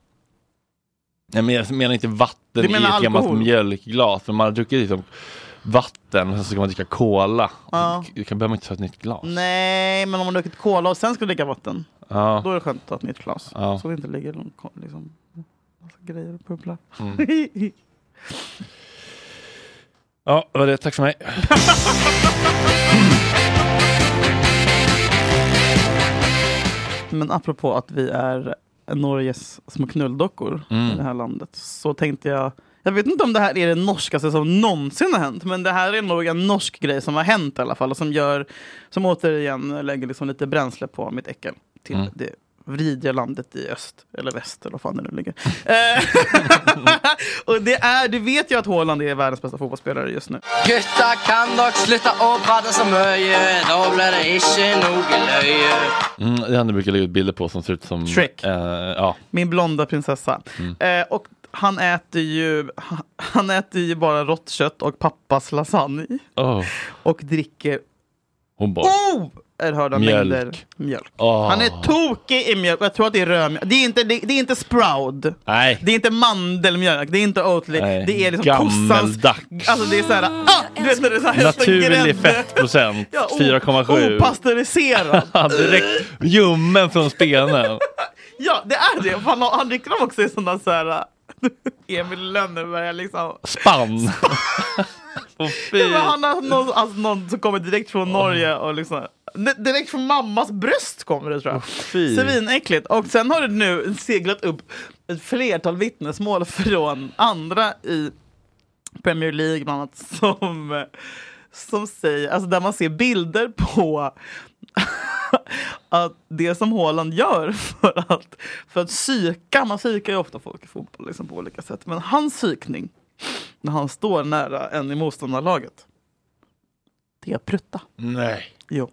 Speaker 3: Nej, men jag menar inte vatten
Speaker 4: Du menar
Speaker 3: i ett gammalt
Speaker 4: alkohol?
Speaker 3: mjölkglas. Men man har druckit liksom vatten och sen ska man dricka cola.
Speaker 4: Ja. Mm.
Speaker 3: Då kan- behöver man inte ta ett nytt glas.
Speaker 4: Nej, men om man druckit cola och sen ska dricka vatten.
Speaker 3: Ja.
Speaker 4: Då är det skönt att ta ett nytt glas.
Speaker 3: Ja.
Speaker 4: Så det inte ligger någon ko- liksom, massa grejer och bubblar.
Speaker 3: Mm. Ja, det var det. Tack för mig.
Speaker 4: Men apropå att vi är Norges små knulldockor
Speaker 3: Mm.
Speaker 4: i det här landet så tänkte jag jag vet inte om det här är det norskaste som någonsin har hänt, men det här är nog en norsk grej som har hänt i alla fall och som gör, som återigen lägger liksom lite bränsle på mitt äckel till
Speaker 3: Mm.
Speaker 4: det vridiga landet i öst, eller väst eller vad fan det nu ligger. Eh, och det är, du vet ju att Haaland är världens bästa fotbollsspelare just nu.
Speaker 9: Gutta, kan dere slutte å prate så mye? Da blir det ikke noe løye.
Speaker 3: Mm, det är han du brukar lägga ut bilder på som ser ut som...
Speaker 4: Shrek.
Speaker 3: Eh, ja.
Speaker 4: Min blonda prinsessa.
Speaker 3: Mm.
Speaker 4: Eh, och han äter, ju, han äter ju bara rått kött och pappas lasagne.
Speaker 3: Oh.
Speaker 4: Och dricker
Speaker 3: Hon bara...
Speaker 4: Oh, oerhörda
Speaker 3: Mjölk. Ah.
Speaker 4: mängder mjölk.
Speaker 3: Åh.
Speaker 4: Han är tokig i mjölk. Jag tror att det är rödmjölk. Det är inte, det, det är inte sprout.
Speaker 3: Nej.
Speaker 4: Det är inte mandelmjölk. Det är inte Oatly.
Speaker 3: Nej.
Speaker 4: Det är liksom kossans...
Speaker 3: Gammeldack.
Speaker 4: Alltså det är såhär... Ah, du vet när det är så här hästen grädde.
Speaker 3: Naturlig fettprocent.
Speaker 4: Ja, oh, o-
Speaker 3: 4,7.
Speaker 4: Opastöriserad.
Speaker 3: Direkt ljummen från spenen.
Speaker 4: Ja, det är det. Fan, han dricker dem också i sådana så här... Emil Lönneberga liksom.
Speaker 3: Spann.
Speaker 4: Ja, men han har någon, alltså, någon som kommer direkt från Norge och liksom... Di- Direkt från mammas bröst kommer det tror jag.
Speaker 3: fy.
Speaker 4: Svinäckligt. Och sen har det nu seglat upp ett flertal vittnesmål från andra i Premier League bland annat som, som säger, alltså där man ser bilder på att det som Haaland gör för att, för att psyka, man psykar ju ofta folk i fotboll liksom på olika sätt, men hans psykning när han står nära en i motståndarlaget, det är att prutta.
Speaker 3: Nej.
Speaker 4: Jo.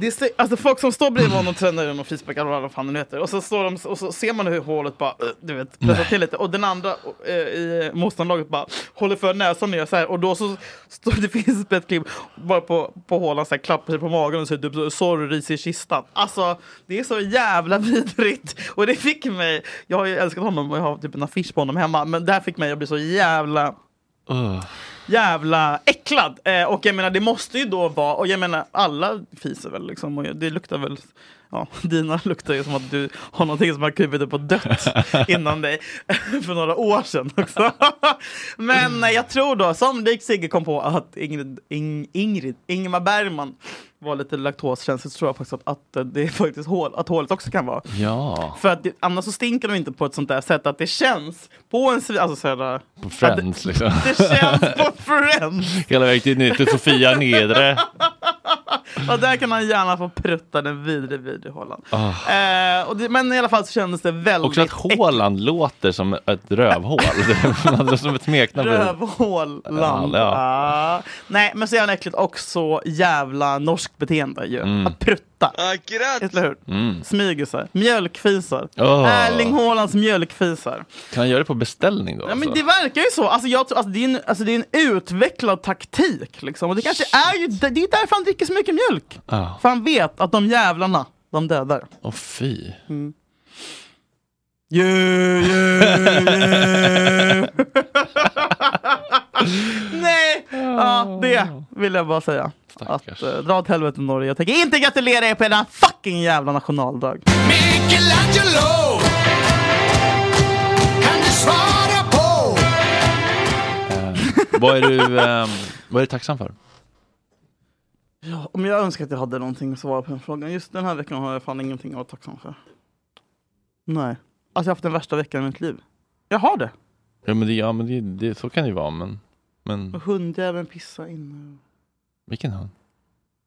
Speaker 4: Det är, så- alltså folk som står bredvid honom och tränar den och frisparkar och vad fan den heter. Och så, står de, och så ser man hur hålet bara, eh, du vet, pressar till lite. Och den andra eh, i motståndarlaget bara håller för näsan och gör så här. Och då så står det finns ett klipp bara på, på hålan så här, klappar sig på magen och säger typ så, sorry ris i kistan. Alltså det är så jävla vidrigt. Och det fick mig, jag har ju älskat honom och jag har typ en affisch på honom hemma. Men det här fick mig att bli så jävla jävla äcklad. Eh, och jag menar det måste ju då vara, och jag menar alla fiser väl liksom, och jag- det luktar väl, ja dina luktar ju som att du har någonting som har krupit upp och dött innan dig för några år sedan också. Men eh, jag tror då, som lik Sigge kom på att Ingrid, Ing, Ingrid, Ingmar Bergman var lite laktoskänslig så tror jag faktiskt att, att eh, det är faktiskt hål, att hålet också kan vara.
Speaker 3: Ja.
Speaker 4: För att det, annars så stinker de inte på ett sånt där sätt att det känns på en svi- alltså sådär,
Speaker 3: På Friends liksom.
Speaker 4: det känns på Friends.
Speaker 3: Hela vägen till nytt till Sofia Nedre.
Speaker 4: Och där kan man gärna få prutta den vidre, vidre hålan.
Speaker 3: Ah.
Speaker 4: Eh, och det, men i alla fall så kändes det väldigt
Speaker 3: Också att Håland låter som ett rövhål. Det låter som ett smeknamn.
Speaker 4: rövhålan.
Speaker 3: Ja, ja.
Speaker 4: Ah. Nej, men så jävla äckligt och så jävla norskt beteende ju.
Speaker 3: Mm.
Speaker 4: Att prutta. Eller hur?
Speaker 3: Mm.
Speaker 4: Smygisar. Mjölkfisar.
Speaker 3: Ah.
Speaker 4: Erling Haalands mjölkfisar.
Speaker 3: Kan han göra det på beställning då?
Speaker 4: Ja, men
Speaker 3: alltså?
Speaker 4: det verkar ju så. Alltså, jag, tror- alltså, det, är en, alltså, det är en utvecklad taktik. Liksom. Och det kanske är ju det det är därför han dricker så mycket mjölk.
Speaker 3: Ah.
Speaker 4: För han vet att de jävlarna, de dödar.
Speaker 3: Åh fy.
Speaker 4: Mm. Yeah, yeah, yeah. Nej! Ja, det vill jag bara säga. Att, eh, dra åt helvete Norge. Jag tänker inte gratulera er på er fucking jävla nationaldag.
Speaker 17: Michelangelo Kan du svara på
Speaker 3: Vad är du ehm, vad är du tacksam för?
Speaker 4: Ja, om jag önskar att jag hade någonting att svara på den frågan. Just den här veckan har jag fan ingenting att vara tacksam för. Nej. Alltså jag har haft den värsta veckan i mitt liv. Jag har det.
Speaker 3: Ja men, det, ja, men det, det, så kan det ju vara men, men
Speaker 4: Och Hundjäveln pissade inne.
Speaker 3: vilken hund?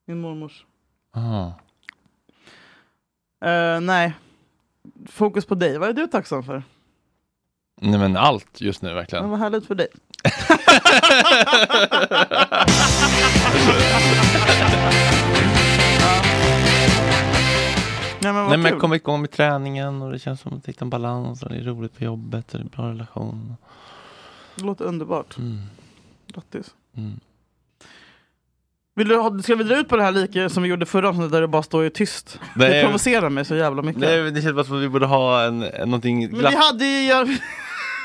Speaker 4: Min mormors.
Speaker 3: Ah.
Speaker 4: Eh, nej. Fokus på dig. Vad är du tacksam för?
Speaker 3: Nej men allt just nu
Speaker 4: Men
Speaker 3: verkligen.
Speaker 4: vad härligt för dig. Nej men vad
Speaker 3: Nej men
Speaker 4: kul.
Speaker 3: jag kommer igång med träningen och det känns som att jag hittar en balans och det är roligt på jobbet och det är bra relation.
Speaker 4: Det låter underbart.
Speaker 3: Mm.
Speaker 4: Grattis.
Speaker 3: Mm.
Speaker 4: Vill du, ha- ska vi dra ut på det här lika som vi gjorde förra avsnittet där du bara står och är tyst?
Speaker 3: Nej.
Speaker 4: Det provocerar mig så jävla mycket.
Speaker 3: Nej men det känns bara som att vi borde ha en, en någonting
Speaker 4: men vi
Speaker 3: glatt.
Speaker 4: hade ju... jag-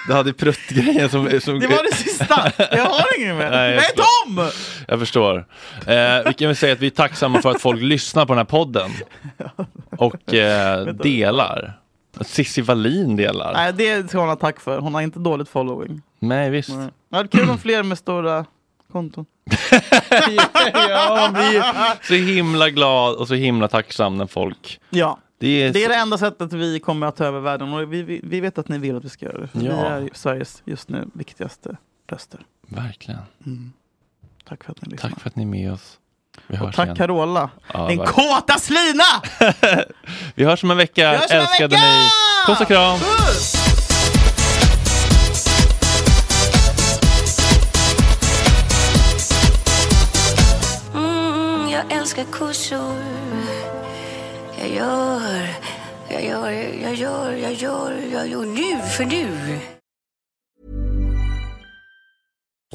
Speaker 3: Du hade pruttgrejen som, som...
Speaker 4: Det var det sista! Jag har ingen mer.
Speaker 3: Nej,
Speaker 4: Nej,
Speaker 3: jag
Speaker 4: Tom!
Speaker 3: Jag förstår. Eh, vi kan väl säga att vi är tacksamma för att folk lyssnar på den här podden. Och eh, delar. Att Cissi Wallin delar.
Speaker 4: Nej, det ska hon ha tack för. Hon har inte dåligt following.
Speaker 3: Nej visst.
Speaker 4: Nej. Det hade kul om fler med stora konton.
Speaker 3: ja, vi är så himla glad och så himla tacksam när folk...
Speaker 4: Ja.
Speaker 3: Det är,
Speaker 4: Det är
Speaker 3: så-
Speaker 4: det enda sättet vi kommer att ta över världen och vi, vi, vi vet att ni vill att vi ska göra det. För
Speaker 3: Ja.
Speaker 4: Vi är ju Sveriges just nu viktigaste röster.
Speaker 3: Verkligen.
Speaker 4: Mm. Tack för att ni lyssnar.
Speaker 3: Tack för att ni är med oss. Vi hörs
Speaker 4: Och tack
Speaker 3: igen.
Speaker 4: Carola,
Speaker 3: Ja,
Speaker 4: din
Speaker 3: verkligen.
Speaker 4: kåta slina!
Speaker 3: Vi hörs om en vecka.
Speaker 4: Vi hörs om en
Speaker 3: Älskade
Speaker 4: vecka!
Speaker 3: ni. Puss och kram.
Speaker 17: Mm, jag älskar kossor Jag gör, jag gör, jag gör, jag gör, jag gör nu för nu